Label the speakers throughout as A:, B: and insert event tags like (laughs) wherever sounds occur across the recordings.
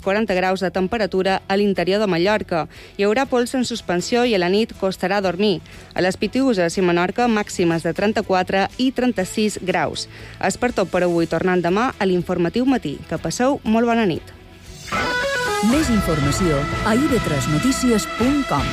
A: 40 graus de temperatura a l'interior de Mallorca. Hi haurà pols en suspensió i a la nit costarà dormir. A les Pitiuses i Menorca, màximes de 34 i 36 graus. És per tot per avui, tornant demà a l'informatiu matí. Que passeu molt bona nit.
B: Més informació a ib3notícies.com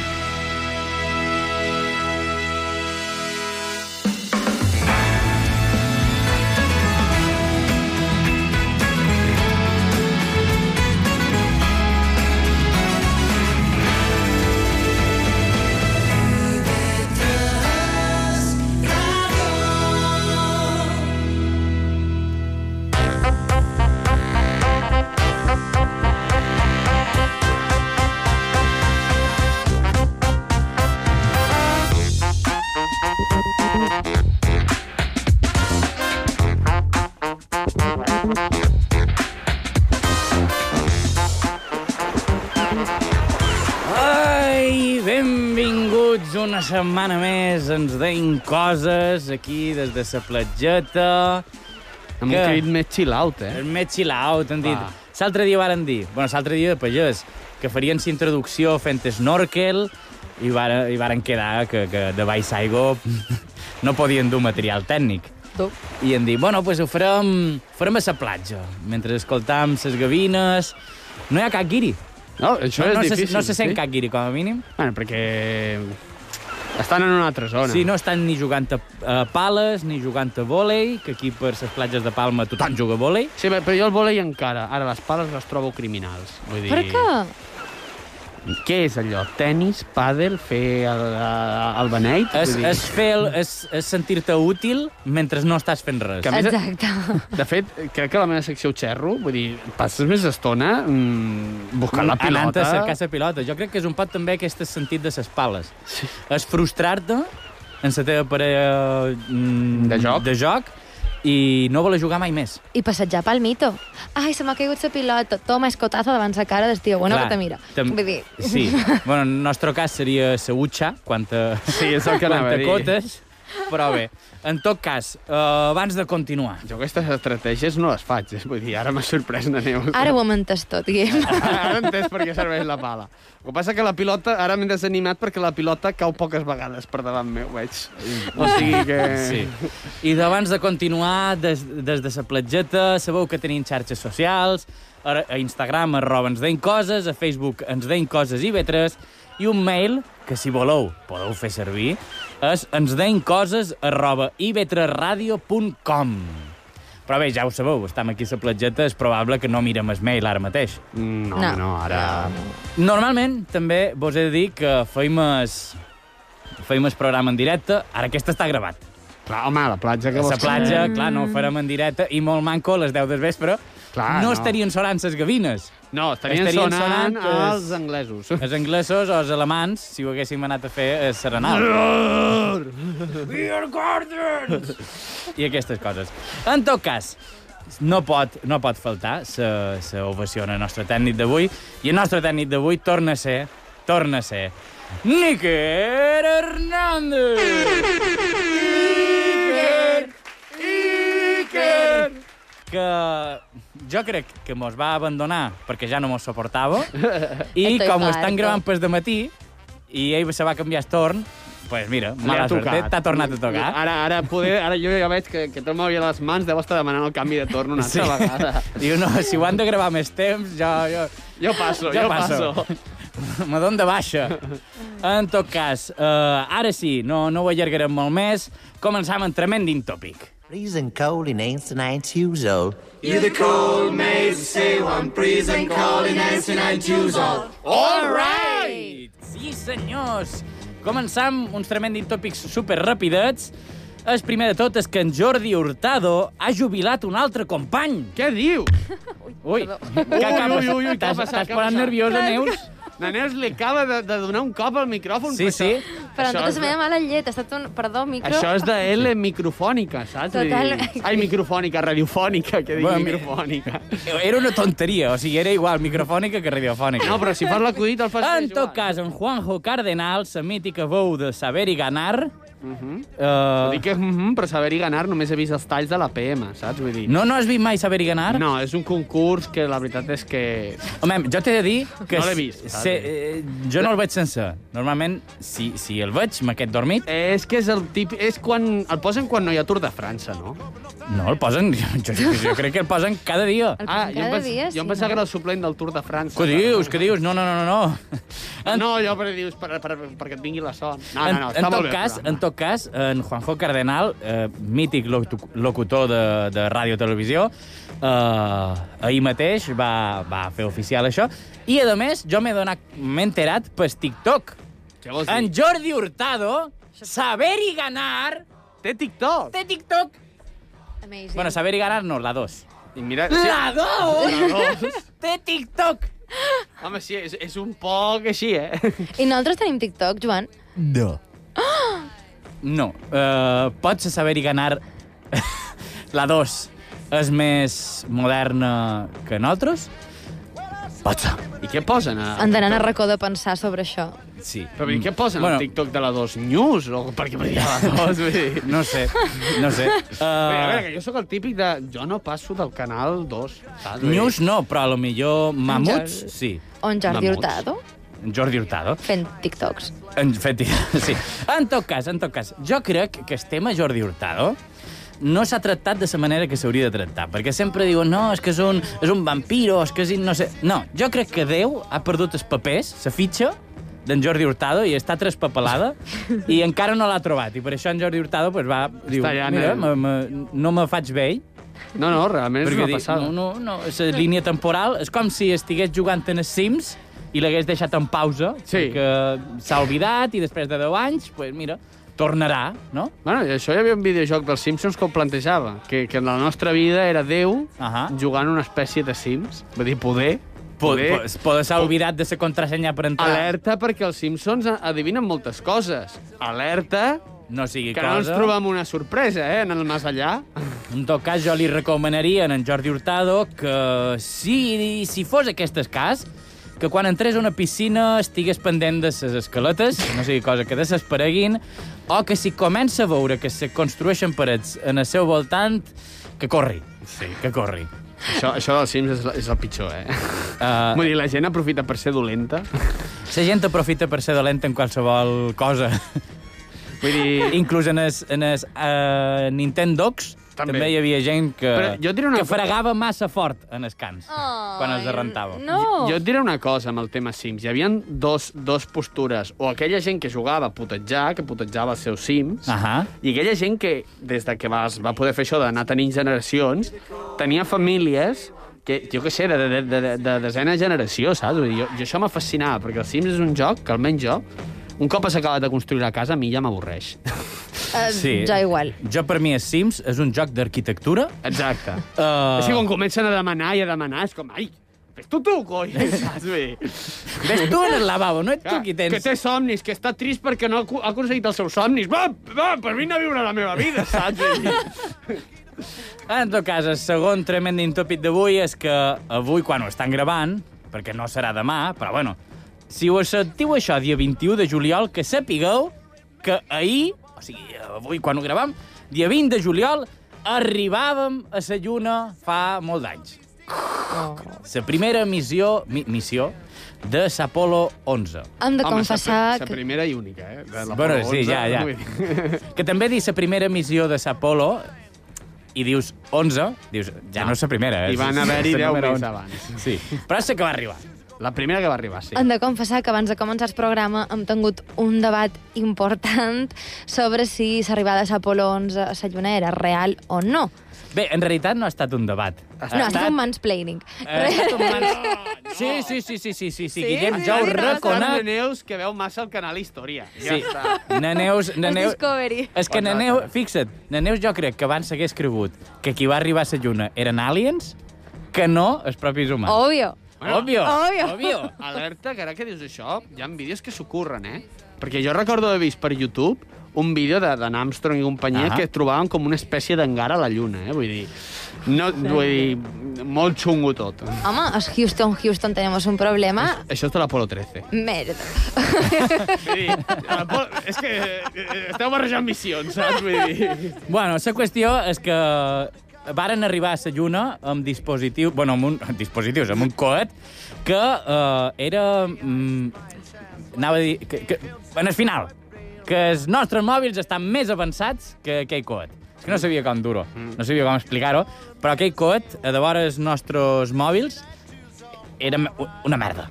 C: Ai, benvinguts una setmana més. Ens deim coses aquí des de la platgeta.
D: Amb
C: Què?
D: un crit més chill out, eh?
C: És més chill out, han dit.
D: Va.
C: L'altre dia varen dir, bueno, l'altre dia de pagès, que farien la introducció fent snorkel i varen, i varen quedar que, que de baix aigua (laughs) no podien dur material tècnic.
D: Tu.
C: I han dit, bueno, pues ho farem, farem a la platja, mentre escoltam les gavines. No hi ha cap guiri.
D: No, això
C: no,
D: és
C: no, se,
D: difícil.
C: no se sent
D: sí?
C: cap guiri, com a mínim.
D: Bueno, perquè estan en una altra zona.
C: Sí, no estan ni jugant a, a pales, ni jugant a vòlei, que aquí per les platges de Palma tothom juga a vòlei.
D: Sí, però jo el volei encara. Ara les pales les trobo criminals. Vull dir...
E: Per què?
D: Què és allò? Tenis, pàdel, fer el, el beneit?
C: És,
D: Vull dir...
C: és, fer el- és, és sentir-te útil mentre no estàs fent res.
D: Que a més-
E: Exacte.
D: De fet, crec que la meva secció ho xerro. Vull dir, passes més estona mm, buscant la
C: Anant
D: pilota.
C: a cercar la pilota. Jo crec que és un pot també aquest sentit de ses pales. Sí. És frustrar-te en la teva parella mm,
D: De joc.
C: de joc i no voler jugar mai més.
E: I passejar pel mito. Ai, se m'ha caigut la pilota. Toma, escotazo davant la cara del tio. Bueno,
C: Clar,
E: que te mira.
C: tam-
E: Vull dir...
C: Sí. bueno, en el nostre cas seria la utxa, quan te,
D: Sí, és el que anava a dir.
C: cotes, però bé. En tot cas, eh, abans de continuar,
D: Jo aquestes estratègies no les faig, eh? vull dir, ara m'ha sorprès la Neus.
E: Ara ho hem entès tot, Guillem.
D: Ara he entès per què serveix la pala. El que passa que la pilota, ara m'he desanimat perquè la pilota cau poques vegades per davant meu, veig. O sigui que...
C: Sí. I d'abans de continuar, des, des de la platgeta, sabeu que tenim xarxes socials, a, a Instagram arroba ens deim coses, a Facebook ens deim coses i vetres, i un mail, que si voleu podeu fer servir, és ens deim coses arroba ivetresradio.com. Però bé, ja ho sabeu, estem aquí a la platgeta, és probable que no mirem el mail ara mateix.
D: No, no,
E: No.
D: no ara...
C: Normalment, també vos he de dir que feim es, feim es programa en directe. Ara aquest està gravat.
D: Clar, home, la platja que
C: A la
D: vols...
C: platja, clar, no ho farem en directe, i molt manco a les 10 del vespre.
D: Clar,
C: no,
D: no.
C: estarien sonant les gavines.
D: No, estarien,
C: Estarien
D: sonant,
C: sonant els-
D: els
C: (laughs)
D: anglesos.
C: Els anglesos o els alemans, si ho haguéssim anat a fer, eh, a serenar. We are gardens! I aquestes coses. En tot cas, no pot, no pot faltar sa, sa ovació al nostre tècnic d'avui, i el nostre tècnic d'avui torna a ser, torna a ser, Níker Hernández! Níker! Níker! que jo crec que mos va abandonar perquè ja no mos
D: (laughs)
C: soportava i
E: Estoy
C: com ho
E: farto.
C: estan gravant pas de matí i ell se va canviar el torn, pues mira,
D: Li ha
C: mala sort, eh?
D: tocat.
C: t'ha tornat a tocar.
D: Ara, ara, poder, ara jo ja veig que, que tot m'havia les mans, deu estar demanant el canvi de torn una altra vegada.
C: Diu, no, si ho han de gravar més temps, jo... jo...
D: Jo passo,
C: Ja
D: jo
C: passo. (laughs)
D: passo.
C: Me dono de baixa. En tot cas, eh, ara sí, no, no ho allargarem molt més. Començam amb Tremending Topic.
F: Freezing cold in 89 years old.
C: All right! Sí, senyors! Començam uns tremendis tòpics superrapidets. El primer de tot és que en Jordi Hurtado ha jubilat un altre company.
D: Què dius?
C: Ui,
D: Ui, ui, ui, ui, què ha
C: t'has
D: passat,
C: t'has
D: què ha
C: posat
D: passat?
C: nerviosa, Neus?
D: La Neus li acaba de, de donar un cop al micròfon.
C: Sí,
D: però
C: sí.
D: Això,
E: Però en
D: això
E: tota
D: és
E: la
D: de-
E: meva mala llet. Ha estat un... Perdó, micro.
D: Això és de L microfònica, saps? Vull dir-
E: Total.
D: Ai, microfònica, radiofònica, que digui
C: Bueno,
D: bueno,
C: mi-
D: microfònica.
C: Era una tonteria, o sigui, era igual microfònica que radiofònica.
D: No, però si fas l'acudit el fas
C: En
D: més
C: tot
D: igual.
C: cas, en Juanjo Cardenal, la mítica veu de saber i ganar,
D: Mhm.
C: Uh,
D: Dic que, mm -hmm, però saber-hi ganar només he vist els talls de la PM, saps? Vull dir,
C: no, no has vist mai Saber i Ganar?
D: no, és un concurs que la veritat és que...
C: Home, jo t'he de dir que...
D: No l'he vist, saps?
C: Se, eh, jo no el veig sencer. Normalment, si, si el veig, m'ha quedat dormit.
D: És que és el tip... És quan... El posen quan no hi ha Tour de França, no?
C: No, el posen... (laughs) Jo, jo, jo crec que el posen cada dia.
E: El
D: Ah, jo em,
E: cada
D: pens...
E: dia,
D: jo em
E: sí,
D: pensava
E: no?
D: que era el suplent del Tour de França.
C: Què dius? Què dius? No, no, no, no. no. En,
D: No, allò perquè dius, per, per, perquè et vingui la son. No,
C: en,
D: Ah, no, no,
C: en,
D: està molt
C: tot
D: bé.
C: cas,
D: el
C: en
D: programa.
C: tot cas, en Juanjo Cardenal, eh, mític locu- locutor de, de ràdio i televisió, eh, ahir mateix va, va fer oficial això, i, a més, jo m'he donat- m'he enterat per TikTok.
D: Què vols dir?
C: En Jordi Hurtado, saber i ganar,
D: Té TikTok.
C: té TikTok.
E: Amazing.
C: Bueno, saber y ganar no, la 2.
D: I mira...
C: ¡La 2!
D: dos!
C: De TikTok.
D: Home, sí, és, és un poc així, eh?
E: I nosaltres tenim TikTok, Joan?
C: No. No. Uh, pots saber y ganar (laughs) la 2. És més moderna que nosaltres? Pots.
D: I què posen? A...
E: Ens anant a racó de pensar sobre això.
C: Sí. Mm.
D: Però vull dir, què posen
C: Bueno.
D: bueno. al TikTok de la 2 News? O perquè per
C: (laughs)
D: dir la 2, vull dir...
C: No sé, no
D: (laughs)
C: sé.
D: Bé, a veure,
C: Uh,
D: que jo sóc el típic de... Jo no passo del canal 2, saps? Vull dir,
C: Ah, news no, però a lo millor mamuts,
E: Jordi.
C: sí.
E: On Jordi
D: Mamuts.
E: Hurtado
C: En Jordi Hurtado.
E: fent TikToks.
C: En fet, (laughs) sí. En tot cas, en tot cas, jo crec que el tema Jordi Hurtado no s'ha tractat de la manera que s'hauria de tractar, perquè sempre diuen, no, és que és un, és un vampiro, és que és... in- no sé... No, jo crec que Déu ha perdut els papers, la fitxa, d'en Jordi Hurtado i està traspapelada i encara no l'ha trobat. I per això en Jordi Hurtado pues, va... Diu,
D: allà,
C: mira,
D: nen."
C: me, me, no me faig vell,
D: No, no, realment és
C: perquè
D: una
C: dic,
D: passada.
C: no, no, no, la línia temporal és com si estigués jugant en els Sims i l'hagués deixat en pausa,
D: Sí.
C: perquè s'ha oblidat i després de 10 anys, pues mira, tornarà, no?
D: Bueno, i això hi havia un videojoc dels Simpsons que ho plantejava, que, que en la nostra vida era Déu
C: Ahà.
D: jugant una espècie de Sims. Vull dir, poder...
C: Poder, poder, poder s'ha oblidat de la contrasenya per entrar.
D: Alerta, perquè els Simpsons adivinen moltes coses. Alerta,
C: No sigui
D: que no ens
C: cosa.
D: trobem una sorpresa, eh, en el més allà.
C: En tot cas, jo li recomanaria a en Jordi Hurtado que, si, si fos aquest el cas, que quan entrés a una piscina estigués pendent de ses escaletes, no sigui cosa que desapareguin, o que si comença a veure que se construeixen parets en el seu voltant, que corri. Sí, que corri.
D: Això, això dels Sims és, la- és el pitjor, eh?
C: Uh,
D: Vull dir, la gent aprofita per ser dolenta.
C: la gent aprofita per ser dolenta en qualsevol
D: (laughs)
C: cosa.
D: Vull dir...
C: Inclús en es, en es uh, Nintendo Docs també.
D: També.
C: també hi havia gent que,
D: Però jo diré una
C: que fregava massa fort en els cans quan els arrentava.
E: Oh, No!
D: Jo et diré una cosa amb el tema Sims. Hi havia dos, dos postures. O aquella gent que jugava a putejar, que putejava els seus Sims,
C: Ahà.
D: i aquella gent que, des de que va, es va poder fer això d'anar tenint generacions, tenia famílies que, jo què sé, de, de, de, de, de desena generació, saps? Vull dir, jo, jo això m'ha fascinat, perquè el Sims és un joc que, almenys jo, un cop has acabat de construir la casa, a mi ja m'avorreix.
E: Eh, Ja igual.
C: Jo, per mi, és Sims és un joc d'arquitectura.
D: Exacte.
C: Uh,
D: És que quan comencen a demanar i a demanar, és com, ai, fes tu tu, coi, (laughs) saps? Vull dir,
C: Ves tu en el lavabo, no ets tu qui
D: Que
C: tens.
D: té somnis, que està trist perquè no ha acu- ha aconseguit els seus somnis. Va, va, per vine a viure la meva
C: (laughs)
D: vida, saps? Vull dir,
C: En tot cas, el segon tremend intòpic d'avui és que avui, quan ho estan gravant, perquè no serà demà, però bueno, si ho sentiu això dia 21 de juliol, que sapigueu que ahir, o sigui, avui quan ho gravam, dia 20 de juliol, arribàvem a la lluna fa molt d'anys. La primera missió, mi, missió de l'Apolo 11.
E: Hem
D: Home,
E: de
D: sa
E: confessar
D: pri- sa
E: que...
D: primera i única, eh? De la
C: Bueno,
D: Apolo
C: sí,
D: 11,
C: ja, ja.
D: vull dir.
C: (laughs) Que també dir la primera missió de Apolo i dius 11, dius, ja no és la primera, eh?
D: Hi van
C: És-
D: haver-hi
C: és la
D: 10
C: número
D: més
C: 11.
D: abans.
C: Sí, però sé que va arribar.
D: La primera que va arribar, sí.
E: Hem de confessar que abans de començar el programa hem tingut un debat important (laughs) sobre si s'arribada a Apolo 11 a la Lluna era real o no.
C: Bé, en realitat no ha estat un debat. Ha
E: No, ha estat un mansplaining.
C: ha estat un
E: (laughs)
C: mans- Sí, sí, sí, sí, sí, sí, sí, Guillem, jo ho
D: Una altra de
C: reconec.
D: Neus que veu massa el canal Història. Ja
C: Sí,
D: està.
C: Naneus... Naneus...
E: Discovery.
C: És que
D: Bona
C: Naneu,
D: tarda.
C: fixa't, Naneu jo crec que abans s'hagués cregut que qui va arribar a la lluna eren aliens que no els propis humans.
E: Obvio.
C: Òbvio,
E: Obvio.
C: òbvio.
D: Alerta, que ara que dius això, hi ha vídeos que s'ho curren, eh? Perquè jo recordo haver vist per YouTube un vídeo de, de Armstrong i companyia
C: Ah.
D: ah. que trobaven com una espècie d'engar a la Lluna, eh? Vull dir, no, vull dir, molt xungo tot.
E: Home, és Houston, Houston, tenemos un problema.
D: Això és de l'Apolo 13.
E: Merda.
D: Vull dir, l'Apolo- és que eh, esteu barrejant missions, saps? Vull dir...
C: Bueno, la qüestió és que varen arribar a la Lluna amb dispositiu... Bueno, amb un, (laughs) amb dispositius, amb un coet que eh, era... Mm, anava a dir... Que, que, en el final, que els nostres mòbils estan més avançats que aquell coet. És que no sabia com dur-ho, no sabia com explicar-ho, però aquell coet, a de vora els nostres mòbils, era me- una merda,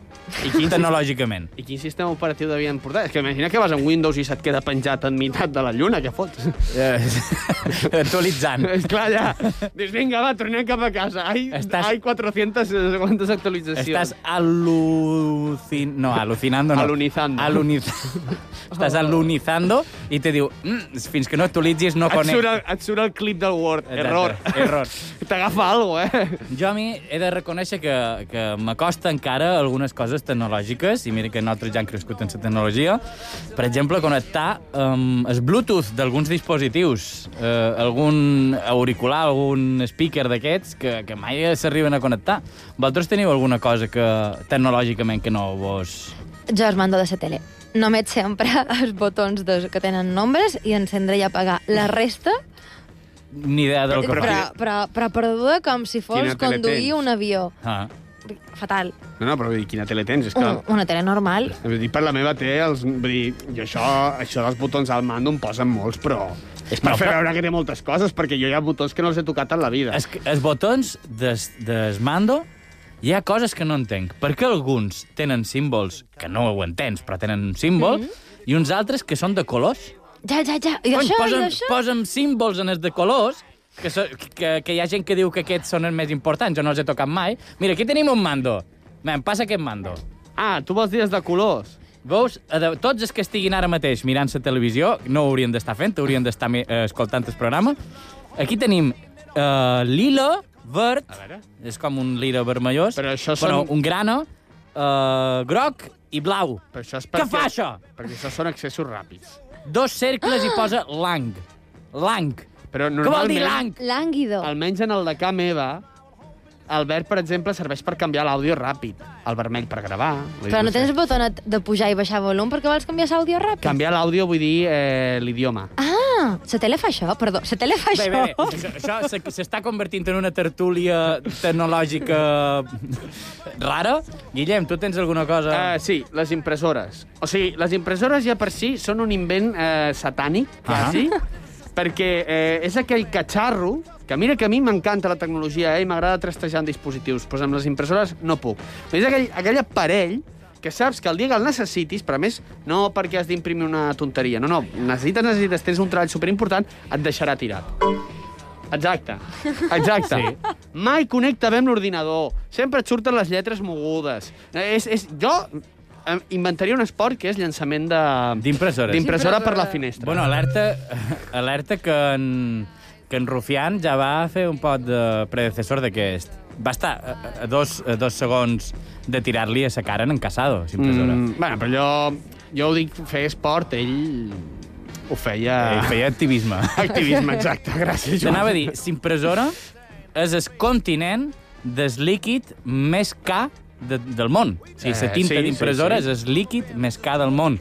D: I quin,
C: tecnològicament.
D: I quin sistema operatiu devien portar? És que imagina que vas amb Windows i se't queda penjat en meitat de la Lluna, què fots?
C: Eh, (laughs) actualitzant.
D: És clar, ja. Dius, vinga, va, tornem cap a casa. Ai,
C: Estàs-
D: Estàs... ai 400 no sé quantes actualitzacions.
C: Estás alucin... No, alucinando no.
D: Alunizando. (laughs)
C: Aluniz... Estàs alunizando i te diu, mm, fins que no actualitzis no
D: et, surt
C: conec.
D: el, et surt el clip del Word.
C: Exacte,
D: Error.
C: error.
D: (laughs) T'agafa algo, eh?
C: Jo a mi he de reconèixer que, que m'acosta encara algunes coses tecnològiques, i mira que nosaltres ja hem crescut en la tecnologia. Per exemple, connectar um, el Bluetooth d'alguns dispositius, eh, algun auricular, algun speaker d'aquests que, que mai s'arriben a connectar. Vosaltres teniu alguna cosa que tecnològicament que no vos...
E: Jo es mando de la tele. Només sempre (laughs) els botons dos que tenen nombres i encendre i apagar. La resta,
C: Ni idea del que
E: però,
C: fa.
E: però, però, però perduda com si fos
D: Quina tele
E: conduir
D: tens?
E: un avió.
C: Ah.
E: Fatal.
D: No, no, però vull dir, quina tele tens? És que...
E: Un, una tele normal.
D: Vull dir, per la meva té els... Vull dir, jo això, això dels botons al mando em posen molts, però... És
C: No,
D: per fer
C: però-
D: veure que té moltes coses, perquè jo hi ha botons que no els he tocat en la vida.
C: Es, els botons des, des mando hi ha coses que no entenc. Per què alguns tenen símbols, que no ho entens, però tenen un símbol, mm -hmm. i uns altres que són de colors?
E: Ja, ja, ja. I això,
C: posa'm,
E: i això.
C: posa'm símbols en els de colors, que, so, que, que hi ha gent que diu que aquests són els més importants, jo no els he tocat mai. Mira, aquí tenim un mando. Me'n passa aquest mando.
D: Ah, tu vols dir els de colors?
C: Veus, A de- tots els que estiguin ara mateix mirant la televisió, no ho haurien d'estar fent, haurien d'estar mi- eh, escoltant el programa. Aquí tenim eh, lila, verd,
D: veure.
C: és com un lila vermellós,
D: Però això
C: bueno,
D: són-
C: un grana, eh, groc i blau.
D: Però això és
C: Què fa això?
D: Perquè això són accessos ràpids.
C: Dos cercles i posa lang. Lang.
D: Però
C: Què vol dir
D: normalment-
C: lang?
E: Lànguido.
D: Almenys en el de Camp Eva, el verd, per exemple, serveix per canviar l'àudio ràpid. El vermell per gravar. Vull dir,
E: Però no
D: sé.
E: tens botonet de pujar i baixar volum perquè vols canviar l'àudio ràpid?
D: Canviar l'àudio vull dir eh, l'idioma.
E: Ah, la tele fa això? Perdó, la tele fa
C: Bé, bé,
E: això?
C: bé. Això- Això se- s'està convertint en una tertúlia (laughs) tecnològica rara. Guillem, tu tens alguna cosa...
D: Uh, sí, les impressores. O sigui, les impressores ja per si són un invent eh, satànic,
C: Ah.
D: quasi, perquè eh, és aquell catxarro que mira que a mi m'encanta la tecnologia eh, i m'agrada trastejar en dispositius, però amb les impressores no puc. És aquell, aquell aparell que saps que el dia que el necessitis, però a més no perquè has d'imprimir una tonteria, no, no, necessites, necessites, tens un treball superimportant, et deixarà tirat. Exacte, exacte. Sí. Mai connecta bé amb l'ordinador. Sempre et surten les lletres mogudes. Eh, És, és, jo eh, inventaria un esport que és llançament de...
C: D'impressores.
D: D'impressora per la finestra.
C: Bueno, alerta, (laughs) alerta que en, que en Rufián ja va fer un pot de predecessor d'aquest. Va estar a, a, dos, a dos segons de tirar-li a sa cara en Casado, si impressora. Mm.
D: mm, bueno, però jo, jo ho dic, fer esport, ell ho feia...
C: Ell feia
D: (laughs)
C: activisme.
D: Activisme, exacte, gràcies, Joan.
C: T'anava a dir, si impressora és el continent del líquid més ca de, del món. O sigui, la
D: Eh,
C: tinta
D: sí, sí,
C: d'impressora
D: sí.
C: és el líquid més ca del món.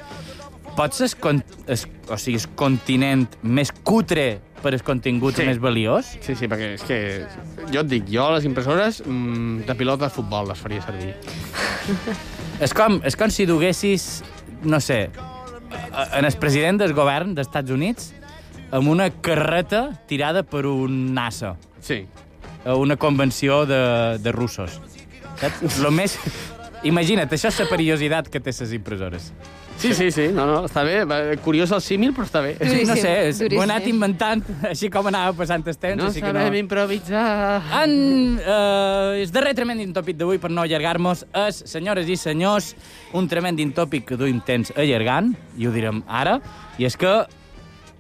C: Pot ser el, con el, o sigui, el continent més cutre per el contingut
D: Sí.
C: sí. més valiós?
D: Sí, sí, perquè és que... Jo et dic, jo les impressores mm, de pilota de futbol les faria servir.
C: És com, és com si duguessis, no sé, a- en el president del govern dels Estats Units amb una carreta tirada per un NASA
D: Sí.
C: a una convenció de, de russos. Saps? Lo més... Imagina't, això és la perillositat que té les impressores.
D: Sí, sí, sí, no, no, està bé. Va, Curiós el símil, però està bé.
C: no
E: Duríssim,
C: sé, és, ho he anat
E: duríssim.
C: inventant, així com anava passant el temps.
D: No Ah,
C: així que
D: sabem improvisar.
C: En eh, el darrer tremendin tòpic d'avui, per no allargar-nos, és, senyores i senyors, un tremendin tòpic que duim temps allargant, i ho direm ara, i és que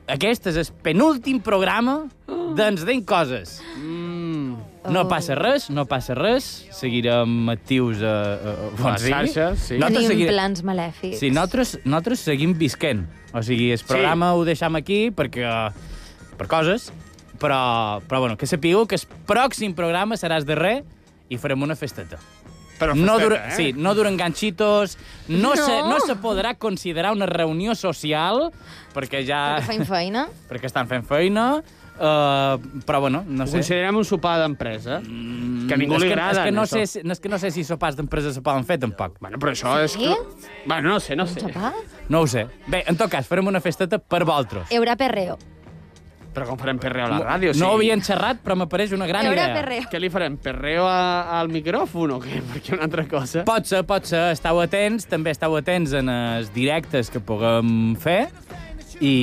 C: aquest és el penúltim programa d'Ens Deim Coses. Mm. No passa res, no passa res. Seguirem actius eh, a, a, a
D: Les xarxes, sí.
C: Nosaltres
E: Tenim
C: seguirem-
E: plans malèfics.
C: Sí, nosaltres, nosaltres seguim visquent. O sigui, el programa sí. ho deixam aquí perquè... per coses, però, però bueno, que sapigueu que el pròxim programa serà el darrer i farem una festeta.
D: Però
C: no,
D: festeta,
C: dura,
D: eh?
C: sí, no duren ganxitos, no,
E: No.
C: Se, no se podrà considerar una reunió social perquè ja...
E: Perquè feim feina.
C: perquè estan fent feina, uh, però bueno, no
D: Ho
C: sé.
D: considerem un sopar d'empresa, que a ningú
C: Mm, és
D: li
C: que,
D: agrada.
C: és que no sé, si- no, és que no sé si sopars d'empresa se poden fer, tampoc.
D: Bueno, però això és...
E: Sí?
D: Que... Bueno, no sé, no sé.
E: Sopar?
C: No ho sé. Bé, en tot cas, farem una festeta per vosaltres.
E: Hi haurà perreo.
D: Però com farem perreo a la ràdio?
C: No ho
D: sí.
C: havien xerrat, però m'apareix una gran
E: Hi haurà
C: idea.
E: perreo.
D: Què li farem? Perreo a, al micròfon o què? (laughs) Perquè una altra cosa...
C: Pot ser, pot ser. Estau atents, també estau atents en els directes que puguem fer. I,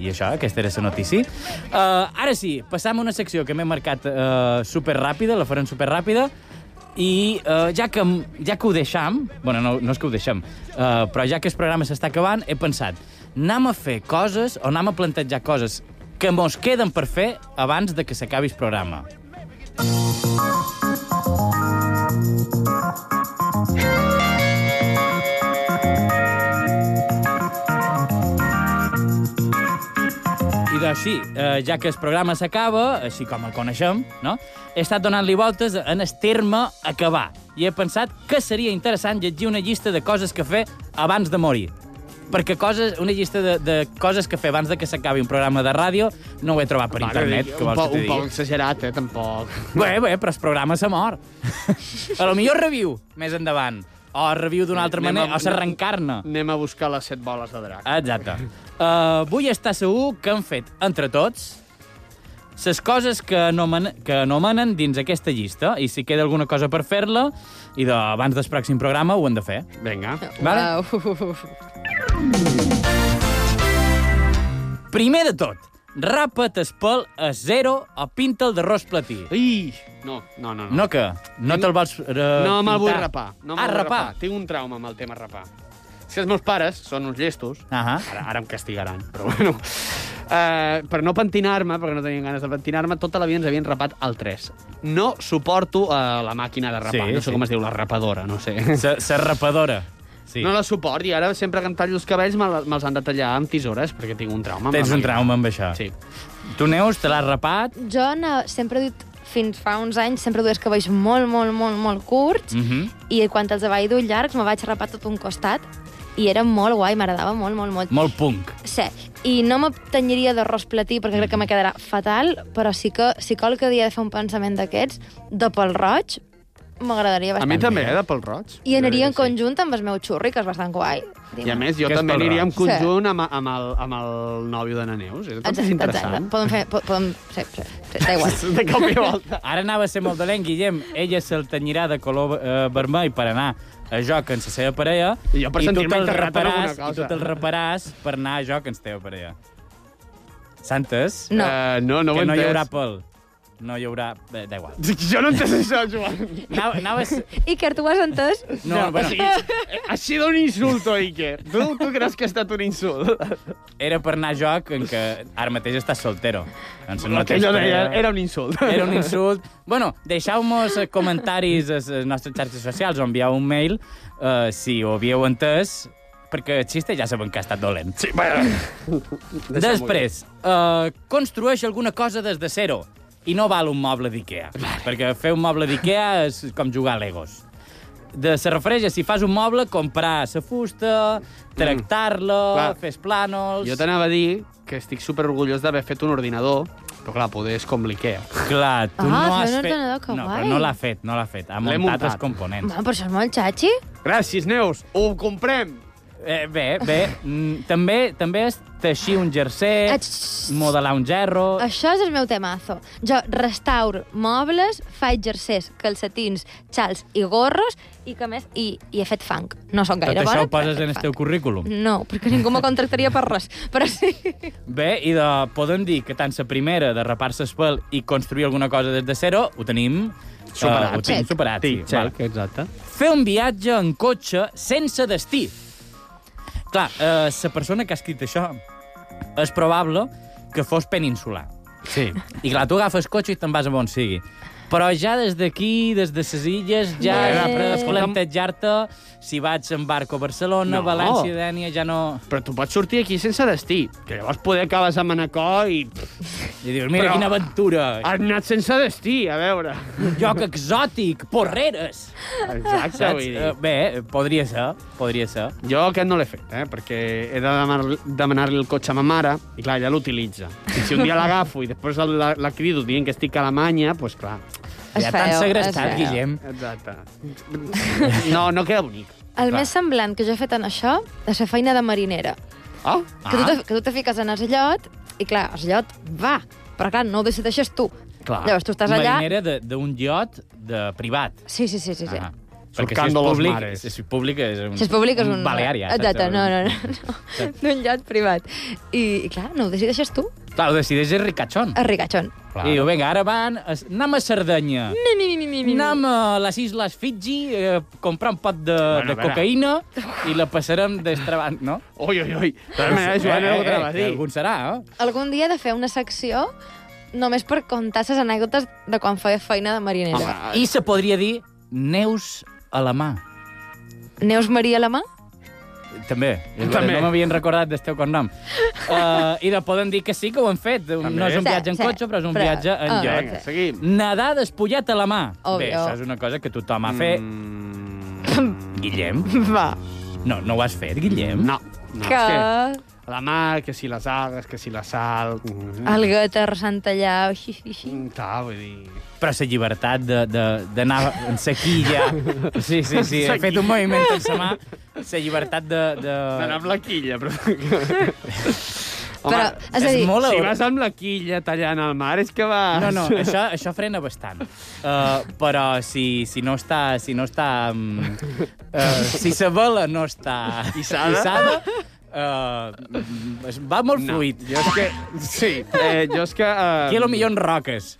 C: i això, aquesta era la notícia. Uh, ara sí, passam a una secció que m'he marcat uh, superràpida, la farem superràpida, i uh, ja, que, ja que ho deixam, bueno, no, no és que ho deixem, uh, però ja que el programa s'està acabant, he pensat, anem a fer coses o anem a plantejar coses que mos queden per fer abans de que s'acabi el programa. I doncs sí, eh, ja que el programa s'acaba, així com el coneixem, no? he estat donant-li voltes en el terme acabar i he pensat que seria interessant llegir una llista de coses que fer abans de morir. Perquè coses, una llista de, de coses que fer abans de que s'acabi un programa de ràdio no ho he trobat per
D: Bueno,
C: internet,
D: dic,
C: que
D: un,
C: vols
D: po,
C: que
D: un
C: t'hi
D: poc
C: digui.
D: exagerat, eh, tampoc.
C: Bé, bé, però el programa s'ha
D: (laughs)
C: mort. a lo millor reviu més endavant. O reviu d'una altra
D: Anem a-
C: manera, o s'arrencarna.
D: Anem a buscar les set boles de
C: Ah.
D: drac.
C: Exacte. Uh, vull estar segur que han fet, entre tots, les coses que anomen, que anomenen dins aquesta llista, i si queda alguna cosa per fer-la, i de, abans del pròxim programa ho hem de fer.
D: Vinga.
C: Vale? Primer de tot, rapa el pèl a zero o pinta'l de ros platí.
D: Ui! No, no, no.
C: No que? No te'l vols eh,
D: No me'l vull
C: pintar?
D: rapar. No
C: ah,
D: me'l vull
C: rapar.
D: Tinc un trauma amb el tema rapar. És que els meus pares són uns llestos.
C: Ahà.
D: Ara, ara em castigaran, però bueno. Uh, per no pentinar-me, perquè no tenien ganes de pentinar-me, tota la vida ens havien rapat al 3. No suporto uh, la màquina de rapar.
C: Sí,
D: no sé
C: sí.
D: com es diu, la rapadora, no sé.
C: Sa, sa rapadora. Sí.
D: No la suport, i ara sempre que em tallo els cabells me la- me'ls han de tallar amb tisores, perquè tinc un trauma. amb la
C: Tens un
D: màquina.
C: trauma amb això.
D: Sí.
C: Tu, Neus, te l'has rapat?
E: Jo no, sempre he dut, fins fa uns anys, sempre dues cabells molt, molt, molt, molt curts,
C: Mhm.
E: i quan els vaig dur llargs me vaig rapar tot un costat, i era molt guai, m'agradava molt, molt, molt.
C: Molt punk.
E: Sí, i no m'obtenyiria d'arròs platí perquè crec que me quedarà fatal, però sí que si qualque dia he de fer un pensament d'aquests, de pel roig, m'agradaria
D: A
E: bastant.
D: mi també, eh, de pel roig.
E: I aniria en
D: Jo crec que sí.
E: conjunt amb el meu xurri, que és bastant guai.
D: I a més, jo
C: Que és
D: també
C: pel
D: aniria en
C: roig.
D: conjunt amb, amb, el, amb el nòvio de Naneus. És, tot és interessant.
E: Podem fer... po- Podem, sí, sí, sí, da igual.
D: (laughs) De cop i volta.
C: Ara anava a ser molt dolent, Guillem. Ella se'l tenyirà de color eh, vermell per anar a joc amb la seva parella.
D: I jo per
C: tu
D: sentir-me
C: te'l
D: integrat en alguna
C: reparàs-
D: cosa.
C: I tu te'l reparàs per anar a joc amb la teva parella. Santes,
E: No.
D: Eh, no, no ho
C: que
D: he
C: no hi
D: entès.
C: haurà pèl. No hi haurà... Bé, Da igual.
D: (laughs) Jo no entès això, Joan.
C: Anava, anaves...
D: (laughs)
E: Iker, tu ho has entès?
C: No, no,
D: O
C: bueno,
D: sigui, eh, així d'un insulto, Iker. Tu, tu creus que ha estat un insult?
C: era per anar a joc en què ara mateix estàs soltero. Doncs
D: No, que
C: tens
D: jo deia,
C: parella.
D: era un insult.
C: Era un insult. Bueno, deixeu-nos eh, comentaris a les nostres xarxes socials o envieu un mail eh, si ho havíeu entès, perquè el xiste ja sabem que ha estat dolent.
D: Sí, bueno.
C: Després, eh, construeix alguna cosa des de zero i no val un moble d'Ikea, perquè fer un moble d'Ikea és com jugar a Legos. De, se refereix a si fas un moble, comprar la fusta, tractar-la,
D: Mm. clar.
C: mm, fer els plànols...
D: Jo t'anava a dir que estic super orgullós d'haver fet un ordinador, però clar, poder és com l'Ikea.
C: Clar, tu
E: Ah,
C: no
E: fer
C: has
E: un
C: fet...
E: ordenador, que
C: no,
E: guai.
C: però no l'ha fet, no l'ha fet. Ha
D: L'he
C: muntat,
D: muntat.
C: els components.
E: Home, però això és molt xatxi.
D: Gràcies, Neus. Ho comprem.
C: Eh, bé, bé. Mm, també, també és teixir un jercer,
E: Ets-
C: modelar un gerro...
E: Això és el meu temazo. Jo restauro mobles, faig jerseys, calcetins, xals i gorros, i que a més... I, i he fet funk. No són
C: Tot
E: gaire
C: això
E: bona,
C: ho poses
E: però he
C: en el
E: fet
C: teu
E: funk.
C: currículum.
E: No, perquè ningú me contractaria per res. Però sí...
C: Bé, i de, podem dir que tant la primera de rapar-se el pèl i construir alguna cosa des de zero, ho tenim... eh,
D: Superat.
C: ho tenim
E: Check.
D: Ah,
C: superat, sí. Val.
D: exacte.
C: Fer un viatge en cotxe sense destí. Clar, eh, la persona que ha escrit això és probable que fos peninsular.
D: Sí.
C: I clar, tu agafes cotxe i te'n vas a on sigui. Però ja des d'aquí, des de ses illes, ja
E: Bé.
C: has de plantejar-te si vaig en barco a Barcelona,
D: No.
C: València, Dènia, ja no...
D: Però tu pots sortir aquí sense destí, que llavors poder acabes a Manacor i pff,
C: I dius, mira
D: Però-
C: quina aventura,
D: has anat sense destí, a veure.
C: un lloc exòtic, porreres.
D: Exacte,
C: Saps?
D: vull dir.
C: Eh, Bé, podria ser, podria ser.
D: Jo aquest no l'he fet, eh? perquè he de demanar- demanar-li el cotxe a ma mare i, clar, ella l'utilitza. I si un dia l'agafo i després la, la crido dient que estic a Alemanya, doncs pues, clar,
E: Es
C: ja t'han
E: feu,
C: segrestat,
E: es feu.
C: Guillem.
D: exacte. No, no queda bonic.
E: El més semblant que jo he fet en això és fer feina de marinera.
D: Oh,
E: Ah. Que, tu te, que tu te fiques en el llot, i clar, el llot va, però clar, no ho decideixes tu.
D: Clar.
E: Llavors tu estàs allà...
C: Marinera de- d'un iot de privat.
E: Sí, sí, sí, sí. sí.
C: Ah.
D: Surcando los
C: públic,
D: mares.
C: Si és públic, és un...
E: Si és públic és un...
C: Balear, ja. saps? eh?
E: Exacte, no, no, no. no. D'un llot privat. I, I clar, no ho decideixes tu,
C: Clar, ho decideix el ricachón.
E: a rigachon.
C: Clar. Diu, vinga, ara van... es- Anem a Cerdanya.
E: Mi, mi, mi, mi, mi, mi.
C: Anem a les Isles Fiji, eh, comprar un pot de, bueno,
D: a
C: de
D: veure.
C: cocaïna i la passarem d'estra banda, no?
D: Ui, ui, ui. De totes maneres, Joan,
C: Eh,
D: era el que
C: eh,
D: anava a dir.
C: Algun serà, eh?
E: Algun dia he de fer una secció només per contar les anècdotes de quan feia feina de marinera.
D: Home,
C: I se podria dir Neus a la mà.
E: Neus Maria la mà?
C: També.
D: També.
C: No m'havien recordat del teu
D: (laughs)
C: cognom. Uh, I de poden dir que sí que ho han fet. No és un
E: Sí,
C: viatge en
E: sí.
C: cotxe, però és un
E: Però-
C: viatge en
E: ah.
C: lloc.
D: Vinga, seguim.
C: Nedar despullat a la mà.
E: Obvio.
C: Bé, això és una cosa que tothom ha
D: eh.
C: fet. Mm. Guillem?
E: Va.
C: No, no ho has fet, Guillem?
D: No, no.
E: que
D: és Que la mar, que si les algues, que si la sal... Mm,
E: el gat arrasant allà... Xi, xi, xi.
D: mm, Ta, vull dir...
C: Però la llibertat de- de- d'anar en
D: (laughs)
C: sequilla... Sí, sí, sí, he fet un moviment amb sa mà. La llibertat de... de...
D: Anar amb la quilla, però... Home,
E: Però, és a
C: és
E: dir,
C: molt-
D: si vas amb la quilla tallant el mar, és que vas...
C: No, no, això, això frena bastant. Uh, però si, si no està... Si no està... Um, uh, si sa vela no està...
D: Hissada.
C: hissada uh, es- va molt
D: No,
C: fluid.
D: jo és que... Sí, eh, jo és que... Eh,
C: Aquí a lo millor en roques.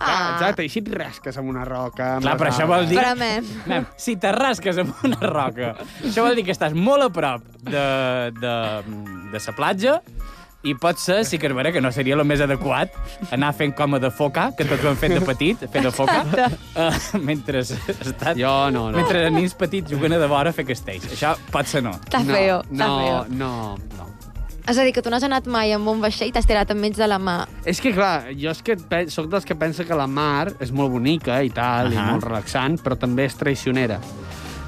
D: Ah, exacte, i si et rasques amb una roca... Amb
C: Clar,
D: les
C: però això vol
D: algues?
C: dir...
E: Però, mem,
C: Mem, si te rasques amb una roca, això vol dir que estàs molt a prop de, de, de sa platja i pot ser, sí que és vera, que no seria el més adequat anar fent coma de foca, que tots ho hem fet de petit, fer de foca, uh, mentre estàs...
D: Jo no, no.
C: Mentre nens petits juguen a de vora a fer castells. Això pot ser no.
E: està
D: no,
E: feo, està
D: no,
E: feo.
D: no, no.
E: És a dir, que tu no has anat mai amb un vaixell i t'has tirat enmig de la mà.
D: És que, clar, jo és que pe- sóc dels que pensa que la mar és molt bonica i tal, uh -huh. i
C: Ahà.
D: molt relaxant, però també és traicionera.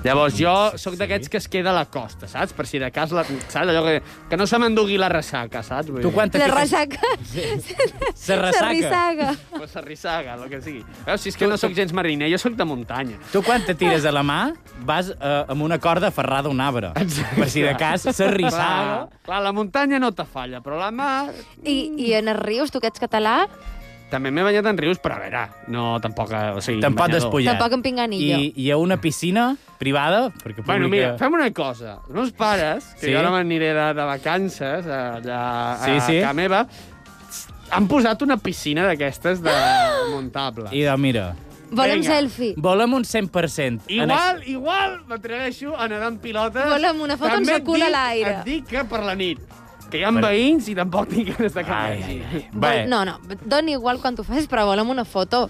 D: Llavors, jo sóc d'aquests que es queda a la costa, saps? Per si de cas, la, saps? Allò que, que no se m'endugui la ressaca, saps? Vull
C: Tu quan te
E: La
C: fiques-
E: ressaca.
C: Se
E: La
C: ressaca.
E: rissaga.
D: O se rissaga, el que sigui. Veus, si és que no sóc gens mariner, jo sóc de muntanya.
C: Tu quan te tires a la mà vas eh, amb una corda aferrada a un arbre.
D: Exacte.
C: Per si de cas se rissaga.
D: Clar, clar, la muntanya no te falla, però la mar...
E: I, I en els rius, tu que ets català,
D: També m'he banyat en rius, però a veure, no, tampoc... eh, O sigui,
C: Te'n pots
D: banyador.
C: despullar.
E: Tampoc en pinganillo.
C: I, I a una piscina privada, perquè pública...
D: Bueno, mira, fem una cosa. Els meus pares, que
C: Sí?
D: sí? jo ara m'aniré de, de vacances eh, allà a,
C: Sí, sí.
D: a casa meva, han posat una piscina d'aquestes de muntable.
C: I de, mira,
E: volem
D: Vinga.
E: selfie.
C: volem un 100%. En
D: Igual, igual m'atreveixo a nedar amb pilotes.
E: Volem una foto amb
D: També
E: sa
D: et
E: cul a
D: dic-
E: l'aire.
D: Et dic que per la nit. Que hi ha
C: Per-
D: veïns i tampoc tinc ganes de
C: Ai, ai,
D: canviar.
C: ai. Bé,
E: Vol, no, no, doni igual quan ho facis, però volem una foto.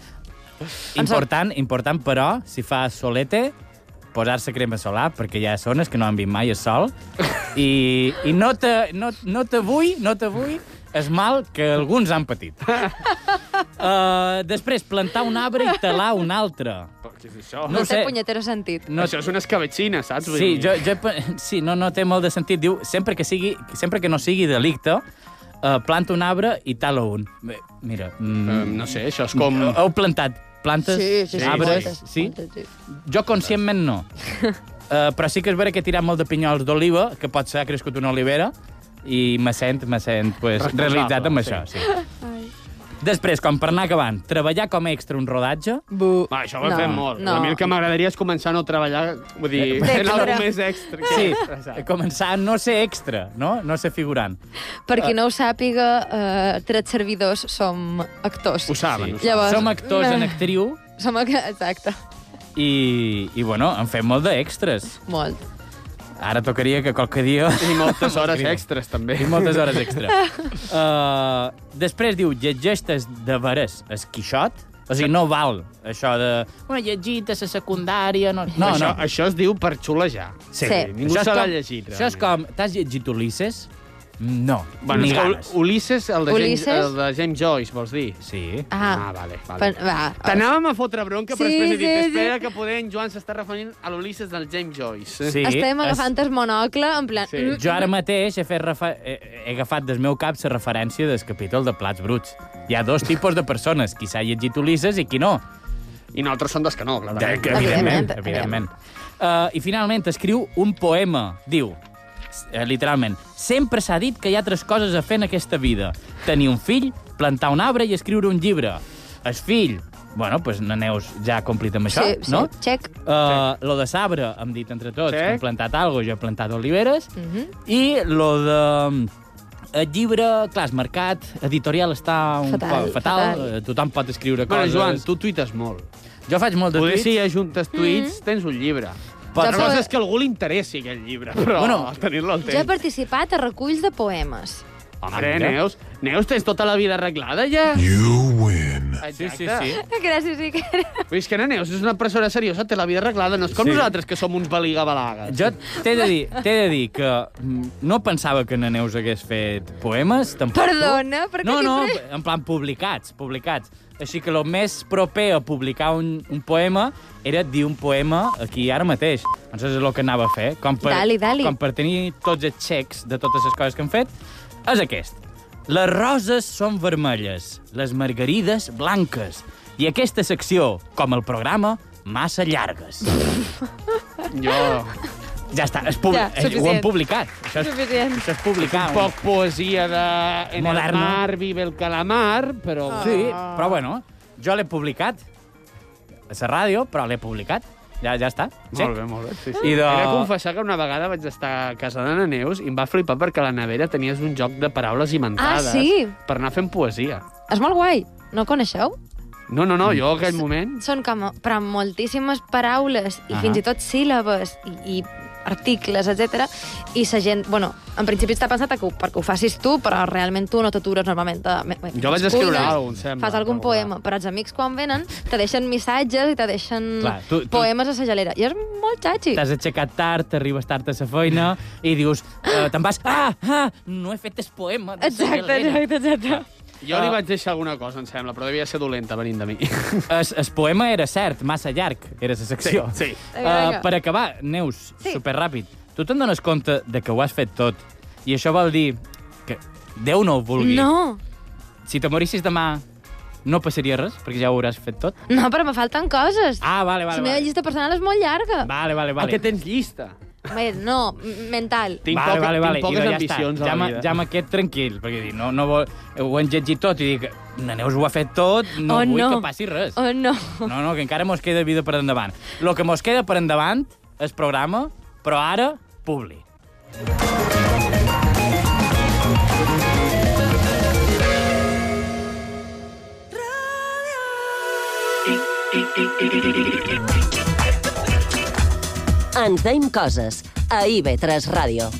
C: important, important, però, si fa solete, posar-se crema solar, perquè hi ha zones que no han vist mai el sol, i, i no te, no, no te vull, no te vull, és mal que alguns han patit. uh, després, plantar un arbre i talar un altre.
D: Però Què és això?
E: No,
C: No
E: no
C: ho sé.
E: té punyetero sentit.
D: No, això és una escabetxina, saps? Vull
C: Sí,
D: dir-
C: jo, jo, pe- sí no, no té molt de sentit. Diu, sempre que, sigui, sempre que no sigui delicte, uh, planta un arbre i tala un. Bé, mira,
D: Eh,
C: mm,
D: no sé, això és com...
C: heu plantat plantes, arbres...
E: moltes,
C: sí?
E: moltes, sí.
C: Jo conscientment
D: (laughs)
C: no. uh, però sí que és vera que he tirat molt de pinyols d'oliva, que pot ser ha crescut una olivera, i me sent, me sent pues,
D: Responsable,
C: realitzat amb
D: sí.
C: això. Sí.
D: (laughs)
C: Després, com per anar acabant, treballar com a extra un rodatge,
E: Bu.
D: Va, això ho
E: No,
D: no, fem molt.
E: no.
D: No. A mi el que m'agradaria és començar a no treballar, vull dir, fent alguna cosa més extra. (laughs)
C: sí, començar a no ser extra, no? No ser figurant.
E: Per qui no ho sàpiga, eh, tres servidors som actors.
D: Ho saben.
E: Sí. Llavors-
C: Som actors en
D: eh.
E: Meh.
C: actriu
E: Som ac- Exacte,
C: i, i bueno, en fem molt d'extras.
E: molt.
C: Ara tocaria que qualque dia...
D: I
C: (laughs)
D: moltes hores extres, també.
C: I moltes
D: (laughs)
C: hores extra. Uh, després diu, llegeixes de veres es Quixot, O sigui, no val això de... Una llegita a la secundària... No, no.
D: això,
C: no.
D: això es diu per xulejar.
E: Sí. Sí.
D: Ningú
C: és
D: se l'ha
C: com-
D: llegit.
C: Això és
D: realment.
C: com... T'has llegit Ulisses? No.
D: Bueno,
C: Ni
D: és que
C: ganes.
D: Ul- Ulisses, el de, James,
E: Ulisses?
D: el de James Joyce, vols dir?
C: Sí.
E: Ah,
D: Ah, vale, vale.
E: Pen- va,
D: T'anàvem a fotre bronca, però
E: Sí,
D: després he dit,
E: sí, sí.
D: espera que poder en Joan s'està referint a l'Ulisses del James Joyce.
C: Sí,
E: Estem
C: es-
E: agafant es... el monocle, en plan...
D: Sí.
E: Mm,
C: Jo ara mateix he, fet refa... he he agafat del meu cap la referència del capítol de Plats Bruts. Hi ha dos tipus de persones, qui s'ha llegit Ulisses i qui no.
D: I nosaltres som dels que no, clarament.
C: Que,
E: Evidentment,
C: evidentment, evidentment. Uh, I finalment escriu un poema, diu, eh, literalment, sempre s'ha dit que hi ha tres coses a fer en aquesta vida. Tenir un fill, plantar un arbre i escriure un llibre. El fill, bueno, doncs pues, na Neus ja ha complit amb això,
E: sí, sí,
C: no?
E: check.
C: Uh, lo de sabre, hem dit entre tots,
D: Sí.
C: que hem plantat algo, jo he plantat oliveres,
E: Mhm.
C: i lo de... mm, El llibre, clar, és mercat, editorial està un
E: Fatal,
C: poc fatal,
E: fatal.
C: eh, tothom pot escriure
D: Bueno,
C: coses...
D: Joan, tu tuites molt.
C: Jo faig molt de
D: Poder
C: tuits.
D: si ajuntes tuits,
E: Mm.
D: tens un llibre.
C: Pot
D: Pot
C: ser.
D: Una cosa és que algú li interessi aquell llibre, però bueno,
C: Bueno,
D: tenir-lo al
E: Jo he
D: temps.
E: participat a reculls de poemes.
D: Hombre,
C: Ah, mira.
D: Neus, Neus, tens tota la vida arreglada ja?
G: You win.
C: Sí, sí,
D: Exacte.
C: sí.
E: Gràcies, Iker.
D: Vull dir, és que la Neus és una persona seriosa, té la vida arreglada, no és com
C: Sí.
D: nosaltres que som uns baligabalagues.
C: Jo t'he de, dir, t'he de dir que mm, no pensava que na Neus hagués fet poemes, tampoc
E: Perdona, per
C: tu.
E: què
C: No, no,
E: sempre-
C: en plan publicats, publicats. Així que el més proper a publicar un, un poema era dir un poema aquí ara mateix. Doncs és el que anava a fer. Com per,
E: Dali, dali.
C: Com per tenir tots els xecs de totes les coses que hem fet, és aquest. Les roses són vermelles, les margarides blanques, i aquesta secció, com el programa, massa llargues.
D: Jo...
C: Ja està, és pub...
E: Ja,
C: ja, ho
E: suficient.
C: han publicat. Això és,
E: Suficient.
C: això és publicar.
D: Un poc poesia de... En
C: Moderna.
D: el mar vive el calamar, però...
E: Ah.
C: Sí, però bueno, jo l'he publicat. A la ràdio, però l'he publicat. Ja, ja està.
D: Molt bé, molt bé. Sí, sí.
C: I de-
D: He de confessar que una vegada vaig estar a casa de la Neus i em va flipar perquè a la nevera tenies un joc de paraules inventades
E: Ah, sí?
D: per anar fent poesia.
E: És molt guai. No coneixeu?
D: No, no, no,
C: Mm.
D: jo en aquell moment...
E: Són com, però amb moltíssimes paraules i
C: Ahà.
E: fins i tot síl·labes i, i articles, etc. I la gent, bueno, en principi està pensat que, ho- perquè ho facis tu, però realment tu no t'atures normalment. Te, me- me-
D: Jo vaig
E: cuines,
D: escriure alguna cosa, em sembla,
E: Fas algun
D: alguna.
E: poema, però els amics quan venen te deixen missatges i te deixen
C: Clar, tu- tu-
E: poemes a la gelera. I és molt xatxi.
C: T'has aixecat tard, t'arribes tard a la feina i dius, eh, te'n vas, ah, ah, no he fet el poema. de la
E: Exacte,
C: Galena."
E: exacte, exacte.
D: Jo
C: Ah.
D: li vaig deixar alguna cosa, em sembla, però devia ser dolenta venint de mi.
C: Es, es poema era cert, massa llarg, era la secció.
D: Sí, sí.
C: Uh,
E: Vinga.
C: per acabar, Neus,
E: Eh, Sí.
C: sí. superràpid, tu te'n dones compte de que ho has fet tot i això vol dir que Déu no ho vulgui.
E: No,
C: Si te morissis demà, no passaria res, perquè ja ho hauràs fet tot.
E: no, però me falten coses.
C: Ah, vale, vale.
E: la meva
C: vale.
E: llista personal és molt llarga.
C: Vale, vale,
D: Vale. (laughs)
C: vale.
D: que tens llista.
E: Bé, no, m- mental.
D: Tinc,
C: vale,
D: poca,
C: vale, vale.
D: tinc poques
C: Idò,
D: ambicions
C: ja
D: a la
C: m'ha-
D: vida.
C: Ja m'ha quedat tranquil, perquè dic, no, no vol... ho hem llegit tot i dic, la Neus ho ha fet tot, no
E: Oh,
C: vull
E: no.
C: que passi res.
E: Oh, no.
C: No, no, que encara mos queda vida per endavant. Lo que mos queda per endavant és programa, però ara, publi.
H: Ens deim coses a IB3 Ràdio.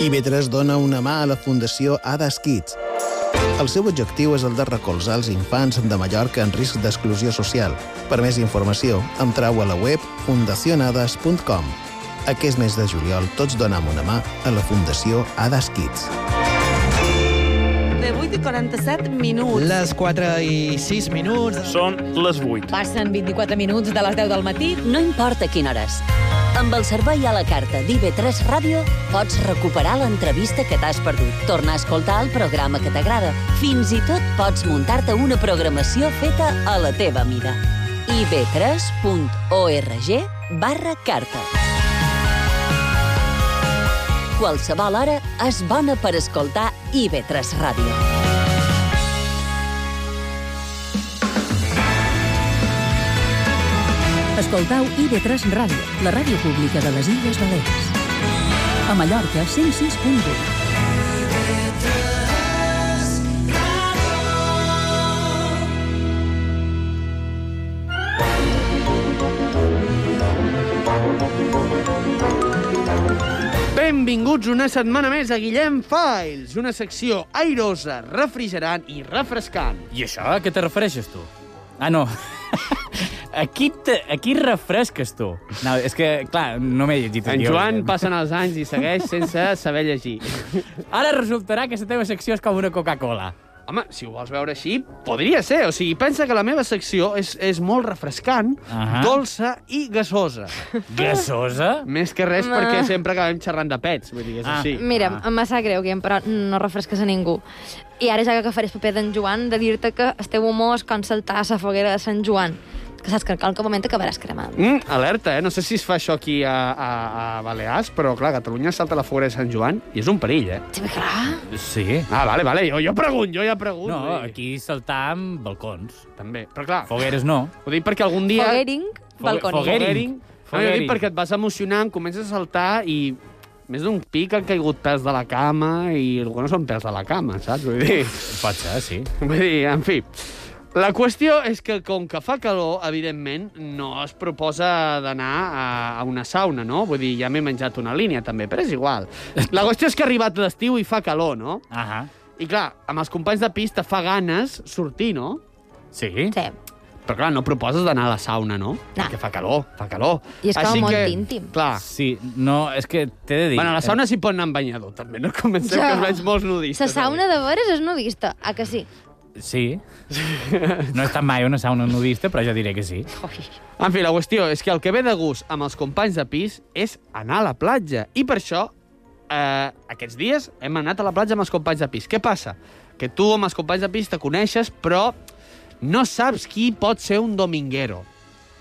I: IB3 dona una mà a la Fundació Hades Kids. El seu objectiu és el de recolzar els infants de Mallorca en risc d'exclusió social. Per més informació, entrau a la web fundacionades.com. Aquest mes de juliol tots donem una mà a la Fundació Hades Kids.
J: De 8 i 47 minuts.
K: Les 4 i 6 minuts.
L: Són les 8.
J: Passen 24 minuts de les 10 del matí.
H: No importa quina hora és. Amb el servei a la carta d'IB3 Ràdio pots recuperar l'entrevista que t'has perdut, tornar a escoltar el programa que t'agrada. Fins i tot pots muntar-te una programació feta a la teva mida. ib3.org barra carta. Qualsevol hora és bona per escoltar IB3 Ràdio.
B: Escoltau IB3 Ràdio, la ràdio pública de les Illes Balears. A Mallorca, 106.1.
D: Bé, Benvinguts una setmana més a Guillem Files, una secció airosa, refrigerant i refrescant.
C: I això, a què te refereixes, tu? Ah, no. (laughs) Aquí, te, aquí refresques, tu. No, és que, clar, no m'he llegit el
D: En
C: guió,
D: Joan
C: evidentment.
D: passen els anys i segueix sense saber
C: (laughs)
D: llegir.
C: Ara resultarà que la teva secció és com una
E: (laughs)
C: Coca-Cola.
D: Home, si ho vols veure així, podria ser. O sigui, pensa que la meva secció és, és molt refrescant, uh
C: Ahà.
D: -huh. dolça i gasosa.
C: Gasosa?
D: Més que res
E: Ah.
D: perquè sempre acabem xerrant de pets, vull dir, és
C: Ah.
D: ah. així.
E: Mira, em va saber greu, Guillem, però no refresques a ningú. I ara ja que faré paper d'en Joan, de dir-te que el teu humor és com saltar a la foguera de Sant Joan, que saps que en qualque moment acabaràs cremant.
D: Mm, alerta, eh? No sé si es fa això aquí a, a, a Balears, però clar, Catalunya salta la foguera de Sant Joan i és un perill, eh?
E: Sí, clar.
C: Sí.
D: Ah, vale, vale, jo, jo pregunto, jo ja pregunto.
C: No,
D: vull dir,
C: aquí saltar amb balcons.
D: També, però clar,
C: Fogueres no.
D: ho dic perquè algun dia...
E: Foguering, balconi.
C: Foguering.
D: Foguering. No, jo dic perquè et vas emocionant, comences a saltar i més d'un pic han caigut pèls de la cama i alguns no són pèls de la cama, saps? Vull dir,
C: Pot ser, sí.
D: (laughs) vull dir, en fi. La qüestió és que, com que fa calor, evidentment, no es proposa d'anar a, a una sauna, no? Vull dir, ja m'he menjat una línia, també, però és igual. La qüestió és que ha arribat l'estiu i fa calor, no?
C: Ahà.
D: I clar, amb els companys de pista fa ganes sortir, no?
C: Sí?
E: Sí.
D: Però clar, no proposes d'anar a la sauna, no?
E: No.
D: Perquè fa calor, fa calor.
E: I és com
D: Així
E: molt
D: que,
E: íntim.
D: Clar,
C: Sí, no, és que t'he de dir...
D: Bueno, a la sauna s'hi pot anar amb banyador, també. No comencem,
E: Ja.
D: que es veig molts
E: La
D: nudistes.
E: sauna de veres és nudista, a que sí?
C: eh, Sí. No he estat mai a una sauna nudista, però jo diré que sí.
D: En fi, la qüestió és que el que ve de gust amb els companys de pis és anar a la platja. I per això, eh, aquests dies hem anat a la platja amb els companys de pis. Què passa? Que tu amb els companys de pis te coneixes, però no saps qui pot ser un dominguero.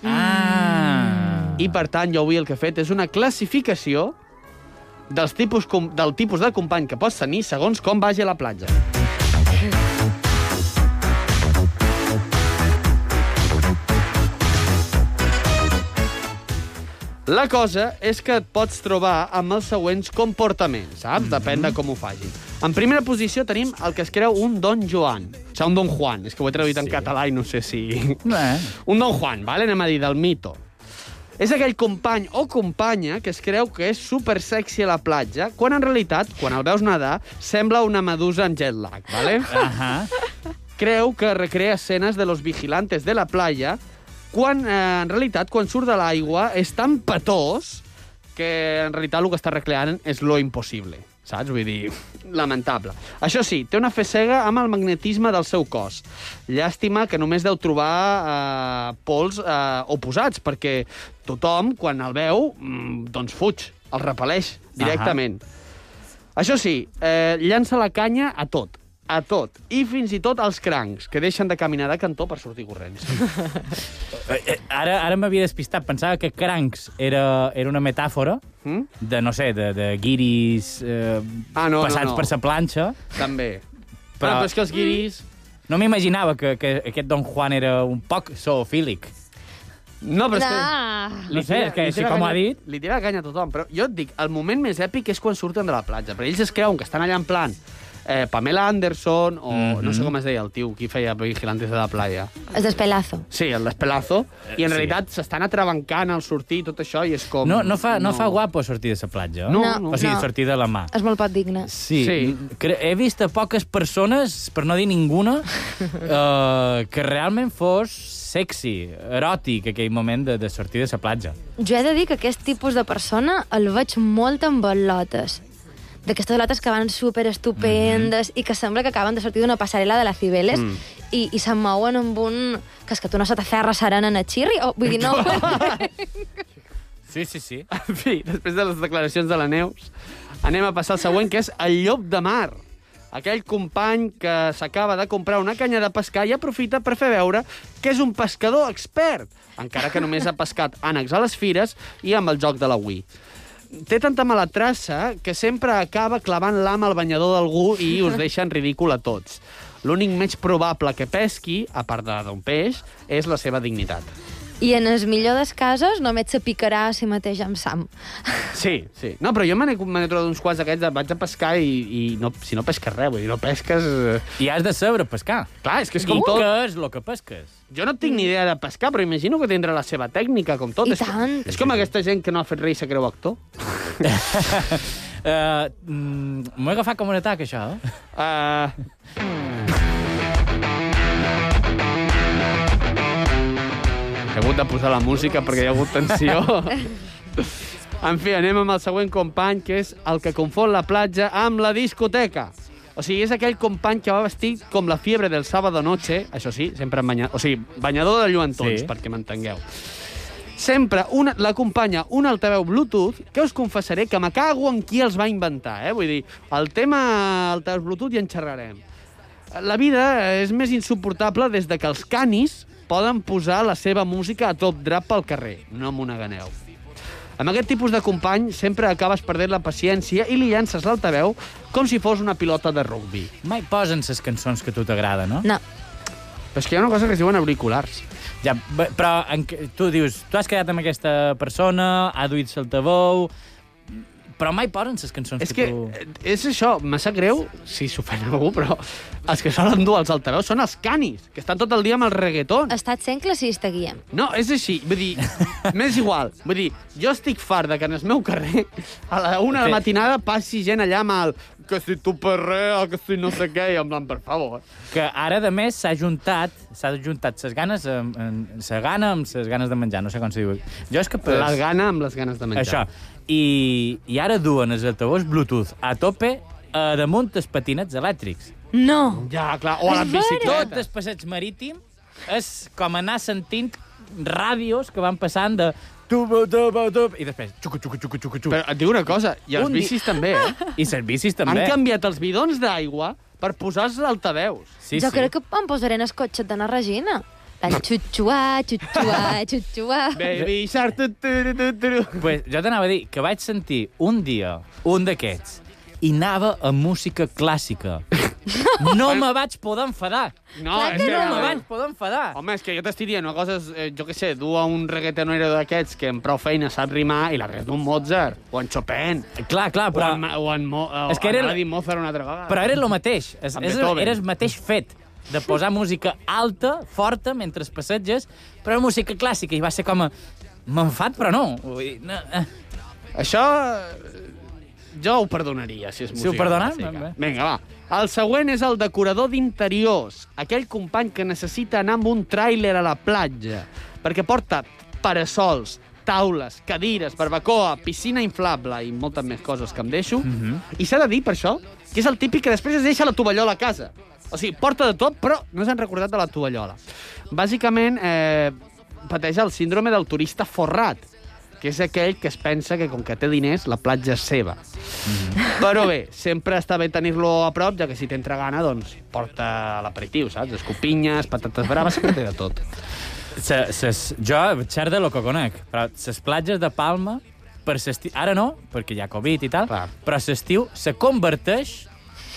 C: Ah!
D: I, per tant, jo avui el que he fet és una classificació dels tipus, com, del tipus de company que pots tenir segons com vagi a la platja. La cosa és que et pots trobar amb els següents comportaments, saps? Depèn de com ho facin. En primera posició tenim el que es creu un Don Joan. O sigui, un Don Juan. És que ho he traduït sí. en català i no sé si... (laughs)
C: Eh.
D: Un Don Juan, vale? anem a dir, del mito. És aquell company o companya que es creu que és super sexy a la platja, quan en realitat, quan el veus nedar, sembla una medusa amb jet lag, vale?
C: Ahà.
D: Creu que recrea escenes de los vigilantes de la playa, quan eh, en realitat, quan surt de l'aigua, és tan patós que en realitat el que està recreant és lo impossible. Saps? Vull dir, lamentable. Això sí, té una fessega amb el magnetisme del seu cos. Llàstima que només deu trobar eh, pols eh, oposats, perquè tothom, quan el veu, mm, doncs fuig, el repel·leix directament. Això sí, eh, llança la canya a tot, a tot, i fins i tot als crancs, que deixen de caminar de cantó per sortir corrents.
C: (laughs) Eh, eh, Ara, ara m'havia despistat. Pensava que crancs era, era una metàfora
D: Mm?
C: de, no sé, de, de guiris eh,
D: Ah, no, no,
C: passats
D: no.
C: per sa planxa.
D: També.
C: Però-
D: Però... Ah, però és que els guiris...
C: No m'imaginava que, que aquest Don Juan era un poc zoofílic.
D: No, però és que...
E: Ah,
C: No sé, és que
D: li
C: així
D: tira
C: com
D: canya-
C: ha dit...
D: Li tira canya a tothom, però jo et dic, el moment més èpic és quan surten de la platja, perquè ells es creuen que estan allà en plan eh, Pamela Anderson o mm -hmm. no sé
C: Mhm.
D: com es deia el tio, qui feia Vigilantes de la playa.
E: es despelazo.
D: Sí, el despelazo. I en
C: sí.
D: sí. realitat s'estan atrabancant al sortir i tot això i és com...
C: No, no, fa, no. fa guapo sortir de la platja.
D: No,
E: No, no.
C: O sigui,
E: no.
C: sortir de la mà.
E: És molt poc digne.
C: Sí,
D: Sí.
C: cre- he vist a poques persones, per no dir
D: (laughs)
C: ninguna, eh, que realment fos sexy, eròtic, aquell moment de, de sortir de la platja.
E: Jo he de dir que aquest tipus de persona el veig molt amb balotes. D'aquestes balotes que van super estupendes
C: Mhm.
E: mm -hmm. i que sembla que acaben de sortir d'una passarel·la de la Cibeles mm. i, i se'n mouen amb un... Que és que tu no se t'aferra serena en a xirri, o vull
C: (laughs)
E: dir, no...
C: Sí, sí, sí.
D: (laughs) En fi, després de les declaracions de la Neus, anem a passar al següent, que és el llop de mar. Aquell company que s'acaba de comprar una canya de pescar i aprofita per fer veure que és un pescador expert, encara que només ha pescat ànecs a les fires i amb el joc de la Wii. Té tanta mala traça que sempre acaba clavant l'am al banyador d'algú i us deixa en ridícul a tots. L'únic més probable que pesqui, a part de- d'un peix, és la seva dignitat.
E: I en els millor dels casos només se picarà a si mateix amb Sam.
D: Sí, sí. No, però jo me n'he me n'he trobat uns quants d'aquests, vaig a pescar i, i no, si no pesques res, vull dir, no pesques... eh,
C: I has de saber pescar.
D: Clar, és que
C: I
D: és com tot.
C: Què és el que pesques?
D: Jo no tinc ni idea de pescar, però imagino que tindrà la seva tècnica, com tot.
E: I
D: és,
E: tant.
D: És com aquesta gent que no ha fet res i se creu actor.
C: Uh, M'ho he agafat com un atac, això. eh?
D: Uh... He hagut de posar la música perquè hi ha hagut tensió. en fi, anem amb el següent company, que és el que confon la platja amb la discoteca. O sigui, és aquell company que va vestit com la fiebre del sábado noche, això sí, sempre en banyador, o sigui, banyador de lluentons,
C: Sí.
D: sí. perquè m'entengueu. Sempre una, l'acompanya un altaveu Bluetooth que us confessaré que me cago en qui els va inventar, eh? Vull dir, el tema altaveu Bluetooth ja en xerrarem. La vida és més insuportable des de que els canis poden posar la seva música a top drap pel carrer. No m'ho neganeu. Amb aquest tipus de company sempre acabes perdent la paciència i li llances l'altaveu com si fos una pilota de rugbi.
C: Mai posen les cançons que a tu t'agrada, no?
E: No.
D: Però és que hi ha una cosa que es diuen auriculars.
C: Ja, b- però en, què- tu dius, tu has quedat amb aquesta persona, ha duit l'altaveu, però mai posen les cançons
D: És que
C: tu...
D: eh, és això, me sap greu, si s'ofèn algú, però els que solen dur els altaveus són els canis, que estan tot el dia amb el reggaeton.
E: Estàs sent classista, Guillem.
D: No, és així. Vull dir,
C: (laughs)
D: m'és igual. Vull dir, jo estic fart de que en el meu carrer a la una de
C: Sí.
D: la matinada passi gent allà amb el que si tu perrea, que si no sé què, i en plan, per favor.
C: Que ara, de més, s'ha juntat, s'ha juntat ses ganes, amb, en, sa gana amb ses ganes de menjar, no sé com se diu. Jo és que...
D: Pues... La gana amb les ganes de menjar.
C: Això. I, I ara duen els altavocs Bluetooth a tope a damunt els patinets elèctrics.
E: No!
D: Ja, clar, o a la
E: És
D: bicicleta.
C: Tot el passeig marítim és com anar sentint ràdios que van passant de tu, tu, tu, tu, i després xucu, xucu, xucu, xucu, xucu.
D: Però et dic una cosa, i els
C: Un
D: Un
C: di-
D: bicis també, eh?
C: I les bicis (laughs)
D: També.
C: també.
D: Han canviat els bidons d'aigua per posar els altaveus.
C: Sí,
E: jo
C: sí.
E: crec que em posaré en el cotxe d'Anna Regina. La xutxuà, xutxuà, xutxuà...
D: Baby shark, tu, tu, tu, tu, tu.
C: Pues, jo t'anava a dir que vaig sentir un dia un d'aquests i anava a música
D: (laughs)
C: clàssica. No me vaig poder enfadar.
D: No,
E: Clar
D: és
E: que
D: que...
C: No
E: no.
C: me vaig poder enfadar.
D: (laughs) Home, és que jo t'estic dient una cosa, és, eh, jo què sé, dur a un reggaetonero d'aquests que amb prou feina sap rimar i la resta d'un Mozart, o en Chopin,
C: Clar, clar,
D: però...
C: però...
D: O en, Ma- o en Mo, o
C: És que era-
D: anava a dir Mozart una altra vegada.
C: Però era el mateix. És,
D: Amb
C: és,
D: Beethoven.
C: era el mateix fet de posar música alta, forta, mentre es passeges, però era música clàssica, i va ser com a... M'enfat, però no. Vull dir, no eh.
D: Això... eh, Jo ho perdonaria, si és
C: Si ho
D: música.
C: perdona,
D: clàssica.
C: ben bé.
D: Vinga, va. El següent és el decorador d'interiors, aquell company que necessita anar amb un tràiler a la platja, perquè porta parasols, taules, cadires, barbacoa, piscina inflable i moltes més coses que em deixo.
C: Mhm.
D: I s'ha de dir, per això, que és el típic que després es deixa la tovallola a casa. O sigui, porta de tot, però no s'han recordat de la tovallola. Bàsicament, eh, pateix el síndrome del turista forrat, que és aquell que es pensa que com que té diners, la platja és seva. Però bé, sempre està bé tenir-lo a prop, ja que si t'entra gana, doncs porta l'aperitiu, saps? Escopinyes, patates braves, sempre té de tot.
C: Se, ses, jo, xerda lo que conec, però les platges de Palma, per s'estiu... Ara no, perquè hi ha Covid i tal,
D: Clar.
C: però s'estiu se converteix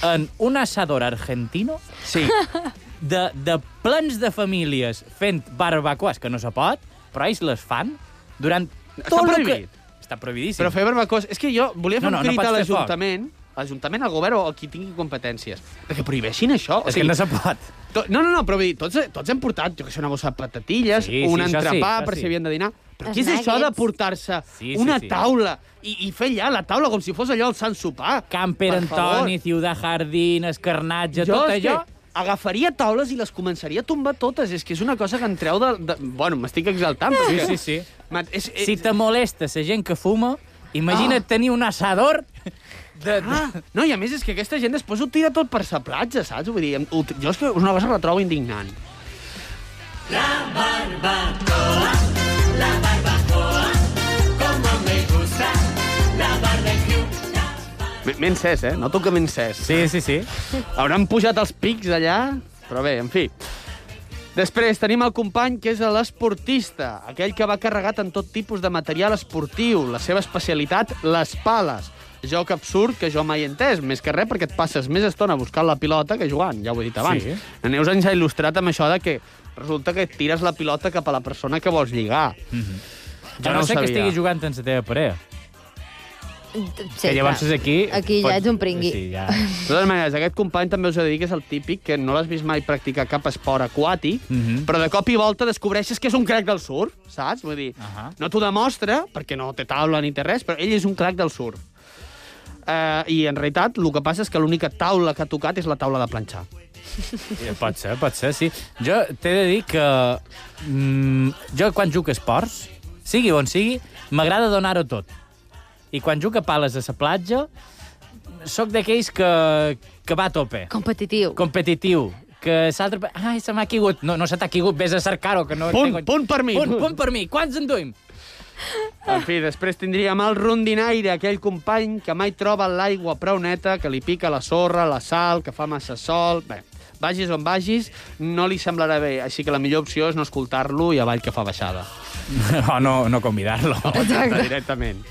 C: en un asador argentino
D: Sí.
C: (laughs) de, de plans de famílies fent barbacoas, que no se pot, però ells les fan durant
D: Està
C: tot el que...
D: prohibit.
C: Està prohibidíssim.
D: Però fer barbacoa... És que jo volia fer
C: No, no,
D: no, no,
C: no
D: un crit
C: pots
D: a
C: fer foc.
D: l'Ajuntament, l'Ajuntament, al govern o a qui tingui competències, perquè prohibeixin això. O
C: És que
D: sigui,
C: no se pot.
D: to, no, no, no, però vull dir, tots, tots hem portat, jo que sé, una bossa de patatilles,
C: Sí,
D: sí,
C: sí,
D: un
C: això sí,
D: entrepà
C: això
D: per
C: sí.
D: si havien de dinar... Però
E: Els
D: què és això de
E: nuggets.
D: portar-se
C: Sí, sí,
D: una
C: sí.
D: taula i, i fer allà la taula com si fos allò el Sant Sopar?
C: Camper,
D: Per favor.
C: Antoni, Ciudad Jardín, Escarnatge,
D: jo,
C: tot
D: és que
C: allò...
D: agafaria taules i les començaria a tombar totes. És que és una cosa que em treu de... de... Bueno, m'estic exaltant.
C: Sí,
D: perquè-
C: sí, sí.
D: Ma- És, és...
C: Si te molesta la gent que fuma, imagina't tenir un assador de... de...
D: Ah, no, i a més és que aquesta gent després ho tira tot per sa platja, saps? Vull dir, em- ho- jo és que és una cosa que la trobo indignant. La barbacoa, la barbacoa, como me gusta, la barbecue. M'he encès, eh? Noto que m'he encès.
C: Sí, sí, sí.
D: Hauran pujat els pics allà, però bé, en fi. Després tenim el company que és l'esportista, aquell que va carregat en tot tipus de material esportiu, la seva especialitat, les pales. Joc absurd que jo mai he entès, més que res perquè et passes més estona buscant la pilota que jugant, ja ho he dit abans.
C: Sí.
D: Sí. La Neus ens ha il·lustrat amb això de que resulta que tires la pilota cap a la persona que vols lligar. Mm -hmm.
C: Jo no, no Mhm. sé que estiguis jugant en la teva parella.
E: Sí,
C: que llavors és aquí...
E: Aquí ja
C: pots-
E: ets un pringui.
C: Sí, ja.
D: De totes maneres, aquest company també us he de dir que és el típic que no l'has vist mai practicar cap esport aquàtic, mm
C: Mhm.
D: -hmm. però de cop i volta descobreixes que és un crac del surf, saps? Vull dir, uh
C: Ahà.
D: -huh. no t'ho demostra, perquè no té taula ni té res, però ell és un crac del surf. eh, i en realitat el que passa és que l'única taula que ha tocat és la taula de planxar.
C: Sí, pot ser, pot ser, sí. Jo t'he de dir que... Mm, jo, quan juc a esports, sigui on sigui, m'agrada donar-ho tot. I quan juc a pales a la platja, sóc d'aquells que, que va a tope.
E: Competitiu.
C: Competitiu. Que s'altre... pe- Ai, se m'ha caigut. No, no se t'ha caigut, vés a cercar-ho. Que no
D: Punt,
C: tengo-
D: punt per mi.
C: Punt, punt per mi. Quants en
D: (laughs)
C: duim?
D: En fi, després tindríem el rondinaire, aquell company que mai troba l'aigua prou neta, que li pica la sorra, la sal, que fa massa sol... Bé, vagis on vagis, no li semblarà bé, així que la millor opció és no escoltar-lo i avall que fa baixada. Oh,
C: O no, no convidar-lo. (laughs)
D: Exacte. Directament.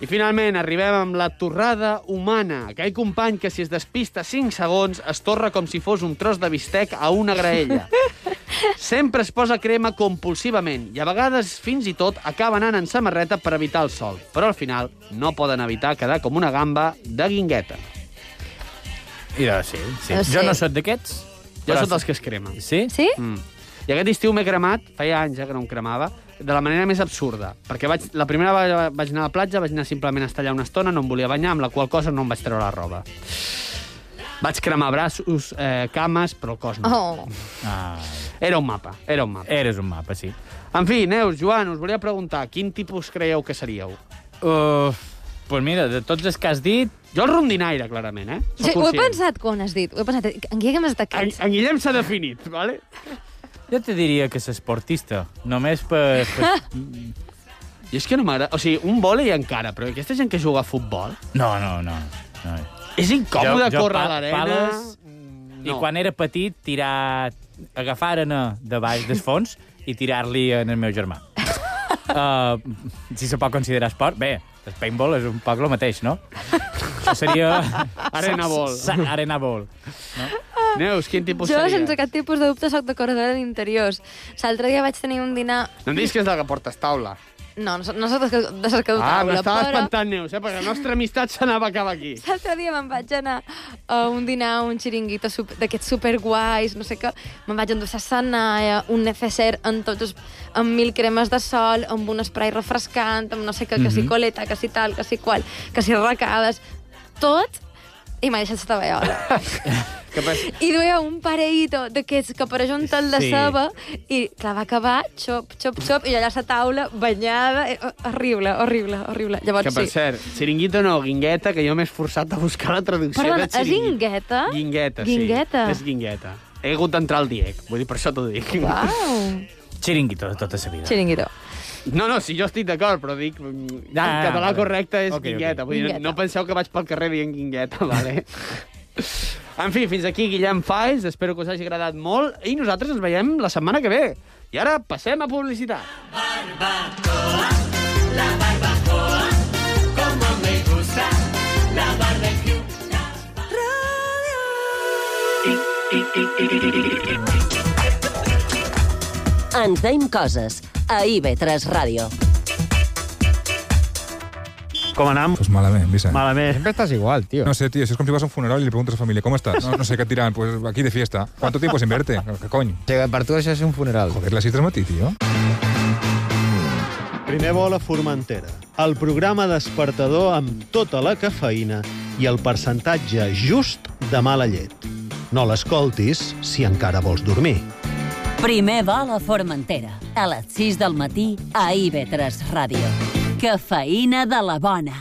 D: I finalment arribem amb la torrada humana, aquell company que si es despista 5 segons es torra com si fos un tros de bistec a una graella. Sempre es posa crema compulsivament i a vegades fins i tot acaba anant en samarreta per evitar el sol, però al final no poden evitar quedar com una gamba de guingueta.
C: I doncs, sí, sí.
D: Jo
C: Jo
D: sé.
C: no sóc d'aquests.
D: Jo
C: però
D: sóc dels que es cremen.
C: Sí?
E: Sí?
D: Mm. I aquest estiu m'he cremat, feia anys ja que no em cremava, de la manera més absurda. Perquè vaig, la primera vegada vaig anar a la platja, vaig anar simplement a estar allà una estona, no em volia banyar, amb la qual cosa no em vaig treure la roba. Vaig cremar braços, eh, cames, però el cos no.
E: Oh.
C: Ah.
D: Era un mapa, era un mapa.
C: Eres un mapa, sí.
D: En fi, Neus, Joan, us volia preguntar, quin tipus creieu que seríeu?
C: Uh, pues mira, de tots els que has dit...
D: Jo el rondinaire, clarament, eh?
E: Sí, ho he pensat quan has dit. Ho he pensat. En Guillem és d'aquests.
D: En Guillem s'ha definit, vale?
C: Jo te diria que és esportista, només per... per... (laughs)
D: I és que no m'agrada... O sigui, un vòlei encara, però aquesta gent que juga a futbol...
C: No, no, no. no.
D: És incòmode
C: Jo- jo
D: córrer a
C: pa-
D: l'arena.
C: pales, I quan era petit, tirar... agafar arena de baix del fons i tirar-li en el meu (laughs) germà. Uh, si se pot considerar esport, bé, el paintball és un poc el mateix, (laughs) no? Això seria...
D: Arena ball.
C: Sa- Arena ball.
D: Neus, quin tipus
E: Jo,
D: seria?
E: sense cap tipus de dubte, sóc de corredora d'interiors. L'altre dia vaig tenir un dinar...
D: No em diguis que és del que portes taula.
E: No, no, soc- no sóc de- de cercadotaula,
D: Ah, m'estava
E: però...
D: espantant, Neus, eh? perquè la nostra amistat s'anava cap aquí.
E: L'altre dia me'n vaig anar a un dinar, a un xiringuito sup- d'aquests superguais, no sé què. Me'n vaig endur Sassanaya, un neceser amb tots els, amb mil cremes de sol, amb un spray refrescant, amb no sé què, que si
J: Mhm.
E: coleta, que si tal, que si qual, que si arracades... Tot i m'ha deixat la
J: (laughs)
E: tovallola. I duia un parellito d'aquests que apareix un tal de
J: Sí.
E: ceba i clar, va acabar, xop, xop, xop, i allà a la taula, banyada, eh, horrible, horrible, horrible. Llavors,
D: que, per
E: sí.
D: cert, xiringuito no, guingueta, que jo m'he esforçat a buscar la traducció de
E: Perdona, és
D: xiringuito.
E: ingueta?
D: Guingueta,
E: Guingueta.
D: sí. És guingueta. He hagut d'entrar al Diec, vull dir, per això t'ho dic.
E: Uau.
C: Xiringuito de tota la vida.
E: Xiringuito.
D: No, no, si jo estic d'acord, però dic... Ah, en
C: ah,
D: català
C: vale.
D: correcte és
C: Ok, ok.
D: okay, guingueta. Vull dir,
C: Guingueta.
D: no penseu que vaig pel carrer dient guingueta, (laughs) vale? en fi, fins aquí Guillem Falls. Espero que us hagi agradat molt. I nosaltres ens veiem la setmana que ve. I ara passem a publicitat.
G: Como me gusta la barbecue.
H: Ens deim coses a IB3 Ràdio.
L: Com anam?
M: Pues malament, Vicent.
L: Malament. Sempre estàs igual, tio.
M: No sé, tío, si es como si vas a un funeral y le preguntas a familia, ¿cómo estás? No, no sé qué te dirán, pues aquí de fiesta. ¿Cuánto tiempo sin verte? ¿Qué coño?
L: Llega, per tu això és un funeral.
M: Joder, la citas matí, tío.
N: Primer vol a Formentera, el programa despertador amb tota la cafeïna i el percentatge just de mala llet. No l'escoltis si encara vols dormir.
H: Primer vol a Formentera, a les 6 del matí a IB3 Ràdio. Cafeïna de la bona.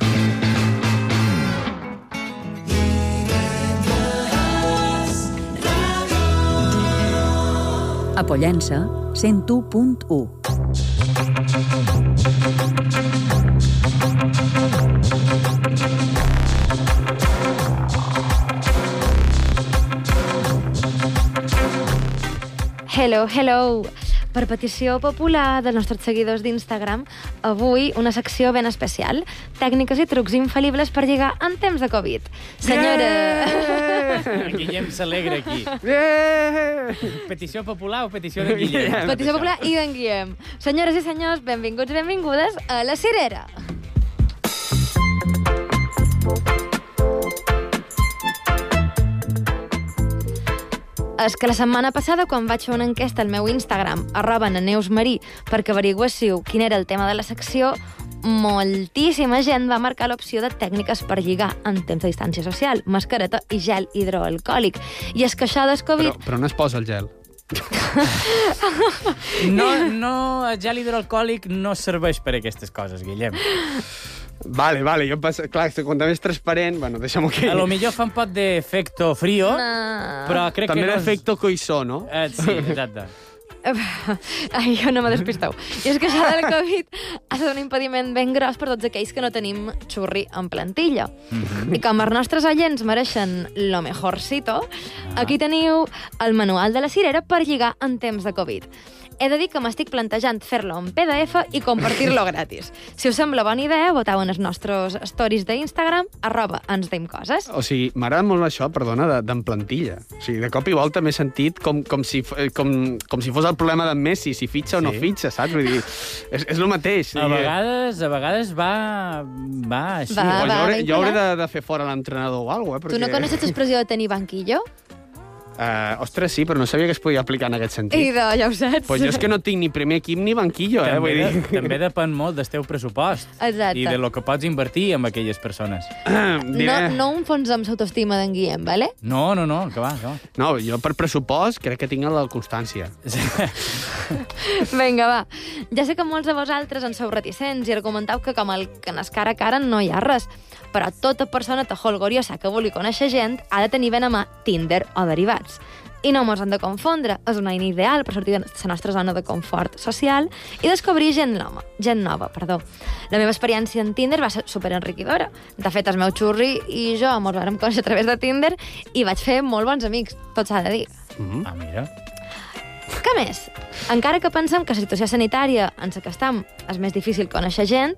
B: A Pollença, 101.1.
E: Hello, hello! Per petició popular dels nostres seguidors d'Instagram, avui una secció ben especial. Tècniques i trucs infal·libles per lligar en temps de Covid. Senyora...
C: Guillem s'alegra aquí.
D: Eh!
C: Petició popular o petició de Guillem?
E: Petició popular i d'en Guillem. Senyores i senyors, benvinguts i benvingudes a La Cirera. És que la setmana passada, quan vaig fer una enquesta al meu Instagram, arroba na Neus Marí, perquè averiguéssiu quin era el tema de la secció, moltíssima gent va marcar l'opció de tècniques per lligar en temps de distància social, mascareta i gel hidroalcohòlic. I és que això dels Covid...
D: Però no es posa el gel.
C: No, no, el gel hidroalcohòlic no serveix per a aquestes coses, Guillem.
D: Vale, vale, jo em passa... Clar, quan més transparent, bueno, deixem-ho aquí.
C: A lo millor fa un pot d'efecto frío, no. però crec
D: També
C: que no... és-
D: l'efecte coissó, no?
C: Eh, sí, exacte.
E: (laughs) Ai, jo no me despisteu. I és que això del Covid ha estat un impediment ben gros per tots aquells que no tenim xurri en plantilla.
D: Mhm.
E: I com els nostres oients mereixen lo mejorcito, aquí teniu el manual de la cirera per lligar en temps de Covid. He de dir que m'estic plantejant fer-lo en PDF i
D: (laughs)
E: compartir-lo gratis. Si us sembla bona idea, voteu en els nostres stories d'Instagram, arroba ens deim coses.
D: O sigui, m'agrada molt això, perdona, de- d'en plantilla. O sigui, de cop i volta m'he sentit com, com, si, f- eh, com, com si fos el problema d'en Messi, si fitxa sí. o no fitxa, saps? Vull dir, és, és el mateix. eh,
C: A vegades, a vegades va... va així.
E: Va,
D: Pues
E: va,
D: jo, hauré, jo hauré de,
E: vinculat.
D: de fer fora l'entrenador o alguna cosa,
E: Ah, Tu
D: eh?
E: no coneixes l'expressió de tenir banquillo?
D: Uh, ostres, sí, però no sabia que es podia aplicar en aquest sentit.
E: I de, ja ho saps.
D: Pues jo és que no tinc ni primer equip ni banquillo, eh?
C: També,
D: Vull
C: de,
D: dir... (laughs)
C: també depèn molt del teu pressupost
E: Exacte.
C: i de lo que pots invertir amb aquelles persones.
E: No, no enfonsem l'autoestima d'en Guillem, vale?
C: No, no, no, que va, que va.
D: No, jo per pressupost crec que tinc la constància.
E: Vinga, va. Ja sé que molts de vosaltres en sou reticents i argumentau que com el que nas cara a cara no hi ha res, però tota persona tajolgoriosa que vulgui conèixer gent ha de tenir ben a mà Tinder o derivats. I no mos han de confondre, és una eina ideal per sortir de la nostra zona de confort social i descobrir gent nova, gent nova, perdó. La meva experiència en Tinder va ser superenriquidora. De fet, el meu xurri i jo mos vam conèixer a través de Tinder i vaig fer molt bons amics, tot s'ha de dir.
C: Mm. Ah, mira.
E: Què més? Encara que pensem que la situació sanitària en la que estem és més difícil conèixer gent,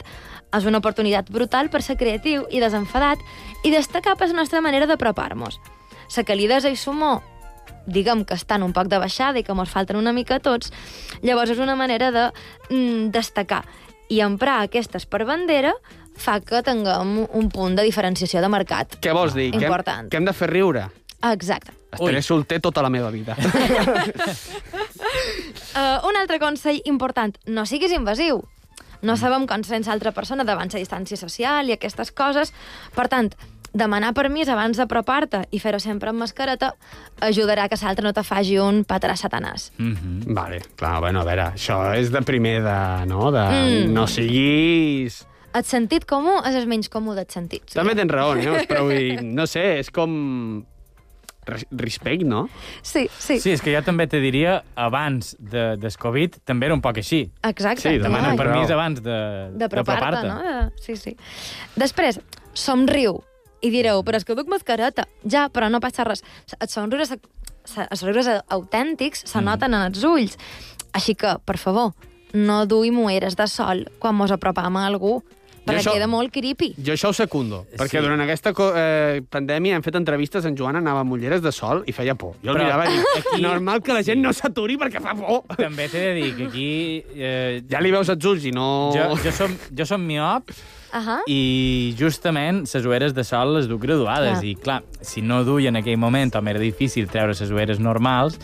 E: és una oportunitat brutal per ser creatiu i desenfadat i destacar per la nostra manera d'apropar-nos. La calidesa i sumó, diguem que estan un poc de baixada i que ens falten una mica a tots, llavors és una manera de mm, destacar. I emprar aquestes per bandera fa que tinguem un punt de diferenciació de mercat.
D: Què vols dir? Que hem,
E: Ah. Important.
D: que hem de fer riure?
E: Exacte.
D: Estaré solter tota la meva
C: (laughs)
D: vida.
E: Uh, un altre consell important, no siguis invasiu. No sabem com sents l'altra persona davant la distància social i aquestes coses. Per tant, demanar permís abans d'apropar-te i fer-ho sempre amb mascareta ajudarà que l'altre no te faci un patrà satanàs.
D: Mm -hmm. Vale, clar, bueno, a veure, això és de primer de... No, de
E: Mm.
D: mm. no siguis...
E: El sentit comú és el menys comú dels sentits.
D: Sí. També tens raó, eh? però vull dir, no sé, és com... res- Respect, no?
E: Sí, sí.
C: Sí, és que jo també te diria, abans de, del Covid també era un poc així.
E: Exacte.
C: Sí, demana
E: Ai.
C: permís abans de
E: d'apropar-te, no? De... Sí, sí. Després, somriu. I direu, però és que duc mascareta. Ja, però no passa res. Els somriures, els somriures autèntics se
C: Mm.
E: noten en els ulls. Així que, per favor, no duim ulleres de sol quan mos apropam a algú, perquè
D: això-
E: això... queda molt creepy.
D: Jo això ho secundo, perquè sí. durant aquesta co- eh, pandèmia hem fet entrevistes, en Joan anava amb ulleres de sol i feia por. Jo el
C: Però
D: mirava i dic,
C: aquí-
D: aquí... normal que la gent no s'aturi perquè fa por.
C: També t'he de dir que aquí... Eh,
D: ja li veus els ulls i no...
C: Jo, jo, som, jo som miop
E: Uh -huh.
C: i justament les ulleres de sol les duc graduades.
E: Clar.
C: I clar, si no duia en aquell moment, home, era difícil treure les ulleres normals,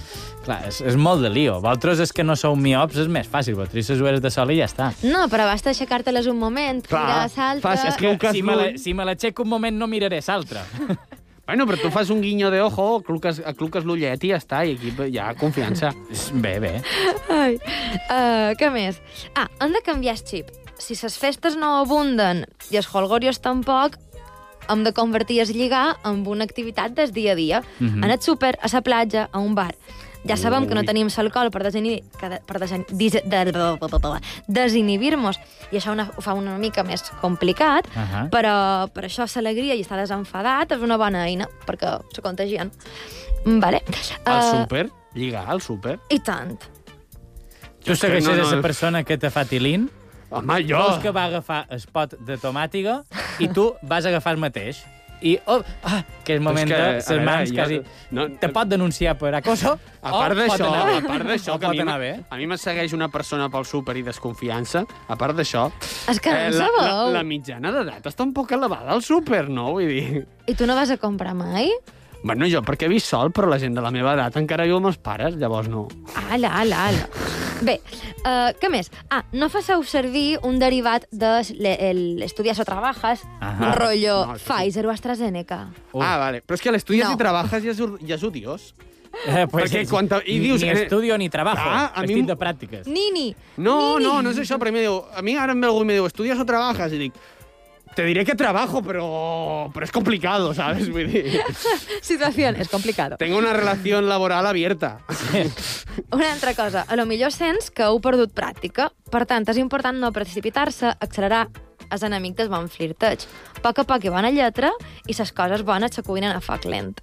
C: clar, és, és molt de lío. Vosaltres és que no sou miops, és més fàcil. Vosaltres les ulleres de sol i ja està.
E: No, però basta aixecar-te-les un moment, mirar a l'altre...
C: és que si me la- si me l'aixeco un moment no miraré l'altre.
D: Bueno, però tu fas un guinyo de ojo, cluques, cluques l'ullet i ja està, i aquí hi ha confiança.
C: Bé, bé.
E: Ai, uh, què més? Ah, han de canviar el xip. Si les festes no abunden i els holgorios tampoc, hem de convertir es lligar en una activitat del dia a dia. Mm
O: Mhm.
E: -hmm. Anar al súper, a la platja, a un bar. Ja sabem que no
O: Ui.
E: tenim l'alcohol per, desinhi... que de- per desin... dis- de... desinhibir-nos, i això una... ho fa una mica més complicat, uh
O: Ahà.
E: -huh. però per això l'alegria i estar desenfadat és una bona eina, perquè se contagien. Mm, Vale.
C: Ah.
D: Al
E: Eh,
D: súper? Lligar al súper?
E: I tant.
C: Tu
D: és que
C: segueixes
D: no,
C: no,
D: no.
C: no. a persona que te fa tilín?
D: Home, jo!
C: Vols que va agafar el pot de tomàtiga i tu vas agafar el mateix. I, oh, ah, que és moment
D: És que,
C: de
D: a
C: les
D: veure,
C: mans
D: jo-
C: quasi...
D: no-
C: No, te pot denunciar per acoso
D: A part
C: o pot
D: d'això,
C: anar bé.
D: a part d'això,
C: O
D: que a
C: pot
D: mi,
C: anar bé.
D: me- a mi me segueix una persona pel súper i desconfiança, a part d'això... eh,
E: És que no
D: la, la,
E: sabeu.
D: la mitjana d'edat està un poc elevada al súper, no? Vull dir...
E: I tu no vas a comprar mai?
D: Bueno, jo perquè he vist sol, però la gent de la meva edat encara viu amb els pares, llavors no.
E: Ala, ala, ala. Bé, uh, què més? Ah, no faceu servir un derivat de l'estudias o trabajas,
D: Ahà.
E: rotllo
D: No, això sí.
E: Pfizer o AstraZeneca.
D: Oh. Ah, vale. Però és que l'estudies
E: No.
D: no. i treballes ja és, ur- ja és odiós.
C: Eh, pues
D: Perquè
C: és-
D: quan te- i
C: ni-
D: dius
C: ni
D: que-
C: estudio ni trabajo,
D: Ah, a mi
C: vestit
D: em-
C: de pràctiques.
E: Nini!
D: No, no, no és això, perquè em diu, a mi ara em ve algú i em diu, estudies o trabajas? I dic, te diré que trabajo, però, però és complicado, ¿sabes? Vull dir, (laughs)
E: Situación, és complicado.
D: tengo una relación laboral abierta.
E: Una altra cosa, a lo millor sents que heu perdut pràctica, per tant, és important no precipitar-se, accelerar, els enemics es van flirteig. A poc a poc hi va una lletra i les coses bones s'acuinen a foc lent.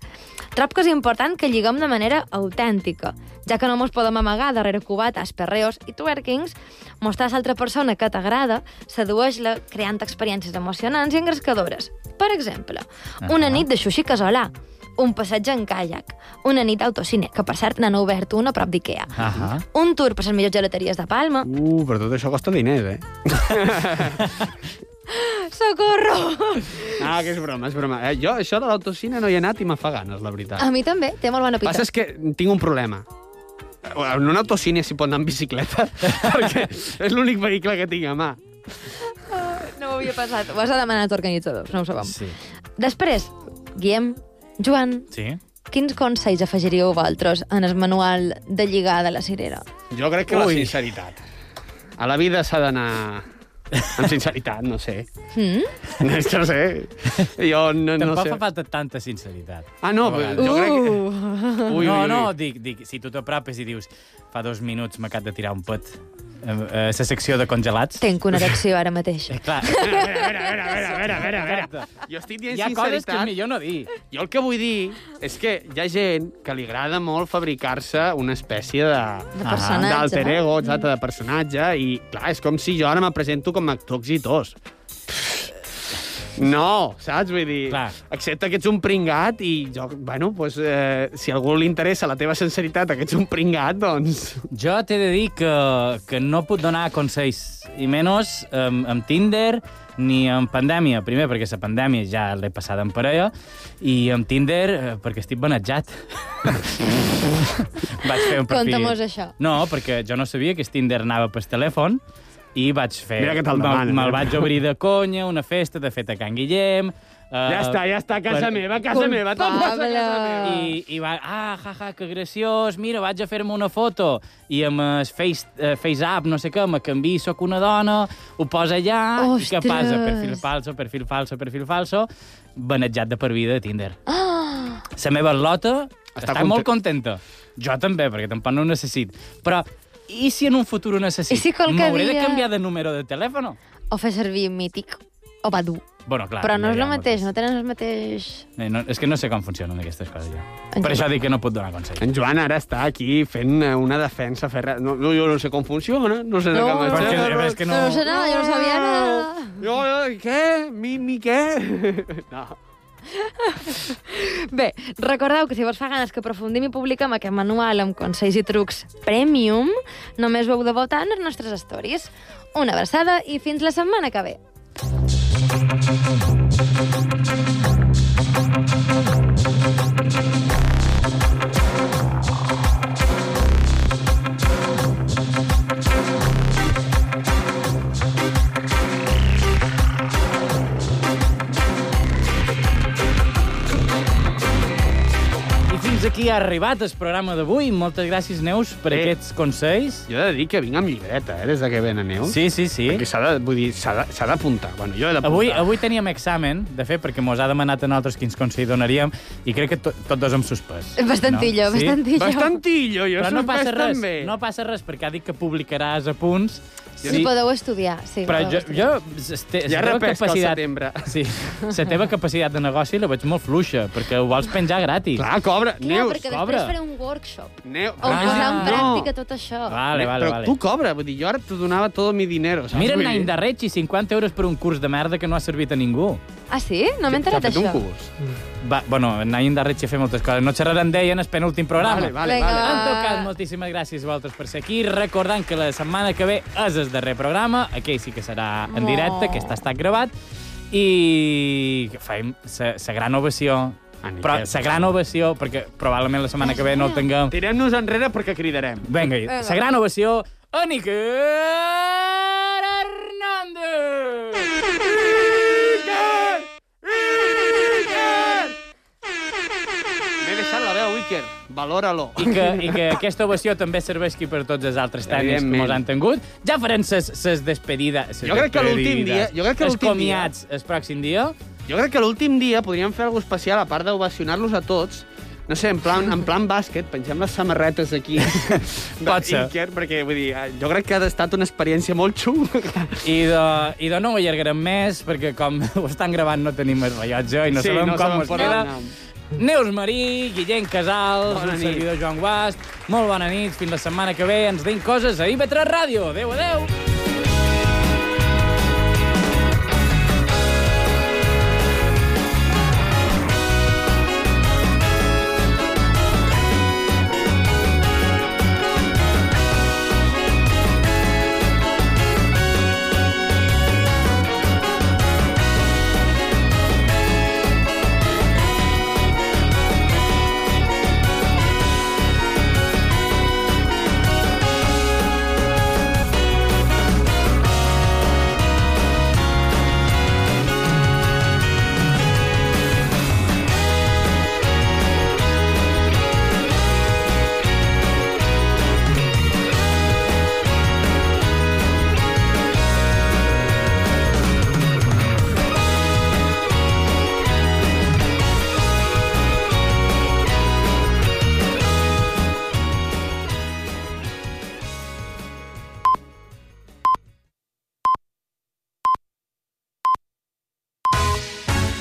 E: Trob que és important que lliguem de manera autèntica, ja que no mos podem amagar darrere cubates, perreos i twerkings, mostrar a l'altra persona que t'agrada, sedueix-la creant experiències emocionants i engrescadores. Per exemple, una nit de sushi casolà, un passeig en caiac, una nit d'autocine, que per cert n'han obert una a prop d'Ikea,
D: Ahà.
E: un tour per les millors gelateries de Palma...
D: Uh, però tot això costa diners, eh?
E: Socorro!
D: Ah, que és broma, és broma. Eh, jo això de l'autocina no hi he anat i me fa ganes, la veritat.
E: A mi també, té molt bona
D: El que
E: pinta.
D: passa és que tinc un problema. En un autocine s'hi pot anar amb
E: (laughs)
D: bicicleta, perquè és l'únic vehicle que tinc a mà.
E: No ho havia pensat. Ho has de demanar als organitzadors, no ho sabem. Sí. Després, Guillem, Joan,
C: Sí.
E: quins consells afegiríeu vosaltres en el manual de lligar de la cirera?
D: Jo crec que la
E: Ui.
D: sinceritat. A la vida s'ha d'anar amb sinceritat, no sé.
E: Mm?
D: És que (laughs) no sé. Jo no, no
C: Tampoc
D: sé.
C: fa falta tanta sinceritat.
D: Ah, no,
C: A
D: però
C: vegades.
D: jo crec que...
C: Ui,
E: Uh.
D: Ui,
C: no,
D: ui, ui.
C: no, dic, dic, si tu t'apropes i dius fa dos minuts m'ha acabat de tirar un pet eh, eh, la secció de congelats... Eh,
E: Tenc una erecció ara mateix.
C: Clar,
D: A veure, a veure, a veure. Jo estic dient
C: Hi ha coses
D: sinceritat.
C: que és millor no dir.
D: Jo el que vull dir és que hi ha gent que li agrada molt fabricar-se una espècie de...
E: De personatge.
D: D'alter ego,
C: Mm.
D: exacte, de personatge, i clar, és com si jo ara me presento com a actor exitós. No, saps? Vull dir, Clar. excepte que ets un pringat i jo, bueno, doncs, eh, si a algú li interessa la teva sinceritat, que ets un pringat, doncs...
C: Jo t'he de dir que, que no puc donar consells, i menys amb, amb Tinder ni en pandèmia. Primer, perquè la pandèmia ja l'he passada en parella, i amb Tinder eh, perquè estic (laughs) benetjat. vaig fer un perfil...
E: Conta-mos això.
C: No, perquè jo no sabia que el Tinder anava pel telèfon, i vaig fer...
D: Mira que te'l
C: me'l-
D: demanen,
C: Me'l
D: eh?
C: vaig obrir de conya, una festa, de fet, a Can Guillem... Uh,
D: Ja està, ja està, casa meva, casa meva, te'n vas a casa meva.
C: I, I va, ah, ja, ja, que graciós, mira, vaig a fer-me una foto. I amb el face, eh, face app, no sé què, me canvi, sóc una dona, ho posa allà, i què
E: Ostres.
C: passa? Perfil falso, perfil falso, perfil falso, benetjat de per vida de Tinder.
E: Ah!
C: La meva lota està, està
D: content-
C: molt contenta. Jo també, perquè tampoc no ho necessit. Però i si en un futur ho necessit?
E: I si qualque
C: M'hauré de
E: dia-
C: canviar de número de telèfon?
E: O fer servir mític o badu.
C: Bueno, clar,
E: Però no és
C: hi ha
E: el mateix, no tenen el mateix...
C: Eh, No, és que no sé com funcionen aquestes coses, jo. Per això dic que no pot donar consells.
D: En Joan ara està aquí fent eh, una defensa, fer... no, no, jo no sé com funciona, no sé
C: No,
D: de què
C: perquè,
D: m'està-
C: a veure, és que no-
E: No sé nada, jo no
D: Ah.
E: sabia nada.
D: Jo, jo, què? Mi, mi què? (laughs) No.
E: Bé, recordeu que si vos fa ganes que aprofundim i publiquem aquest manual amb consells i trucs premium, només ho heu de votar en les nostres stories. Una abraçada i fins la setmana que ve.
C: I fins aquí ha arribat el programa d'avui. Moltes gràcies, Neus, per
D: Eh.
C: aquests consells.
D: Jo he de dir que vinc amb llibreta, eh, des de que ven a neu.
C: Sí, sí, sí.
D: Perquè s'ha de, vull dir, s'ha de- s'ha d'apuntar. Bueno, jo he d'apuntar.
C: Avui, avui teníem examen, de fet, perquè mos ha demanat a nosaltres quins consells donaríem, i crec que to, tots dos hem suspès.
E: Bastantillo, bastantillo.
D: Bastantillo, jo
C: Però no
D: suspès
C: passa res,
D: també.
C: no passa res, perquè ha dit que publicaràs a punts.
E: Sí. Si podeu estudiar, sí.
C: Però
E: podeu
C: jo,
E: estudiar.
C: jo este,
D: Ja
C: la teva
D: repesca al
C: capacitat...
D: setembre.
C: Sí, la teva capacitat de negoci la veig molt fluixa, perquè ho vols penjar gratis.
D: Clar, cobra.
E: Clar,
D: Neus,
E: perquè
D: cobra.
E: després faré un workshop.
D: Neu...
E: O ah, posar en pràctica tot això.
C: Vale, vale,
D: Però
C: vale.
D: tu cobra, vull dir, jo ara t'ho donava tot mi dinero. Saps?
C: Mira
D: Vull
C: en
D: dir,
C: any de reig i 50 euros per un curs de merda que no ha servit a ningú.
E: Ah, sí? No m'he enterat
C: S'ha fet
E: això.
C: un curs. Va, bueno, en any de reig he fet moltes coses. No xerrarem d'ell en el penúltim programa.
D: Vale, vale, Vinga, vale. va.
C: En tot cas, moltíssimes gràcies a vosaltres per ser aquí. Recordant que la setmana que ve és el darrer programa. Aquell sí que serà en directe,
D: Oh.
C: que està estat gravat. I fem la gran ovació. Però la gran ovació, perquè probablement la setmana que ve no el tinguem.
D: Tirem-nos enrere perquè cridarem.
C: Vinga,
D: Vinga.
C: la gran ovació a Níker Hernández!
D: M'he deixat la veu, Iker. Valora-lo.
C: I que, I
D: (laughs)
C: que aquesta ovació també serveix aquí per tots els altres tècnics que mos han tingut. Ja farem ses, ses despedides. ses
D: Jo crec que l'últim dia...
C: despedides,
D: Jo crec que
C: els
D: l'últim dia...
C: comiats el pròxim dia...
D: Jo crec que l'últim dia podríem fer alguna especial, a part d'ovacionar-los a tots, no sé, en plan, en plan bàsquet, pengem les samarretes
C: (laughs)
D: aquí. Pot
C: ser.
D: perquè, vull dir, eh, jo crec que ha estat una experiència molt xula.
C: I de, I de no ho allargarem més, perquè com (laughs) ho estan gravant no tenim el rellotge i no
D: Sí,
C: sabem
D: no sabem
C: com es
D: quan
C: queda.
D: anem.
C: Neus Marí, Guillem Casals,
D: Bona
C: un
D: nit.
C: servidor Joan Guast. Molt bona nit, fins la setmana que ve. Ens deim coses a IB3 Ràdio. Adéu, adéu.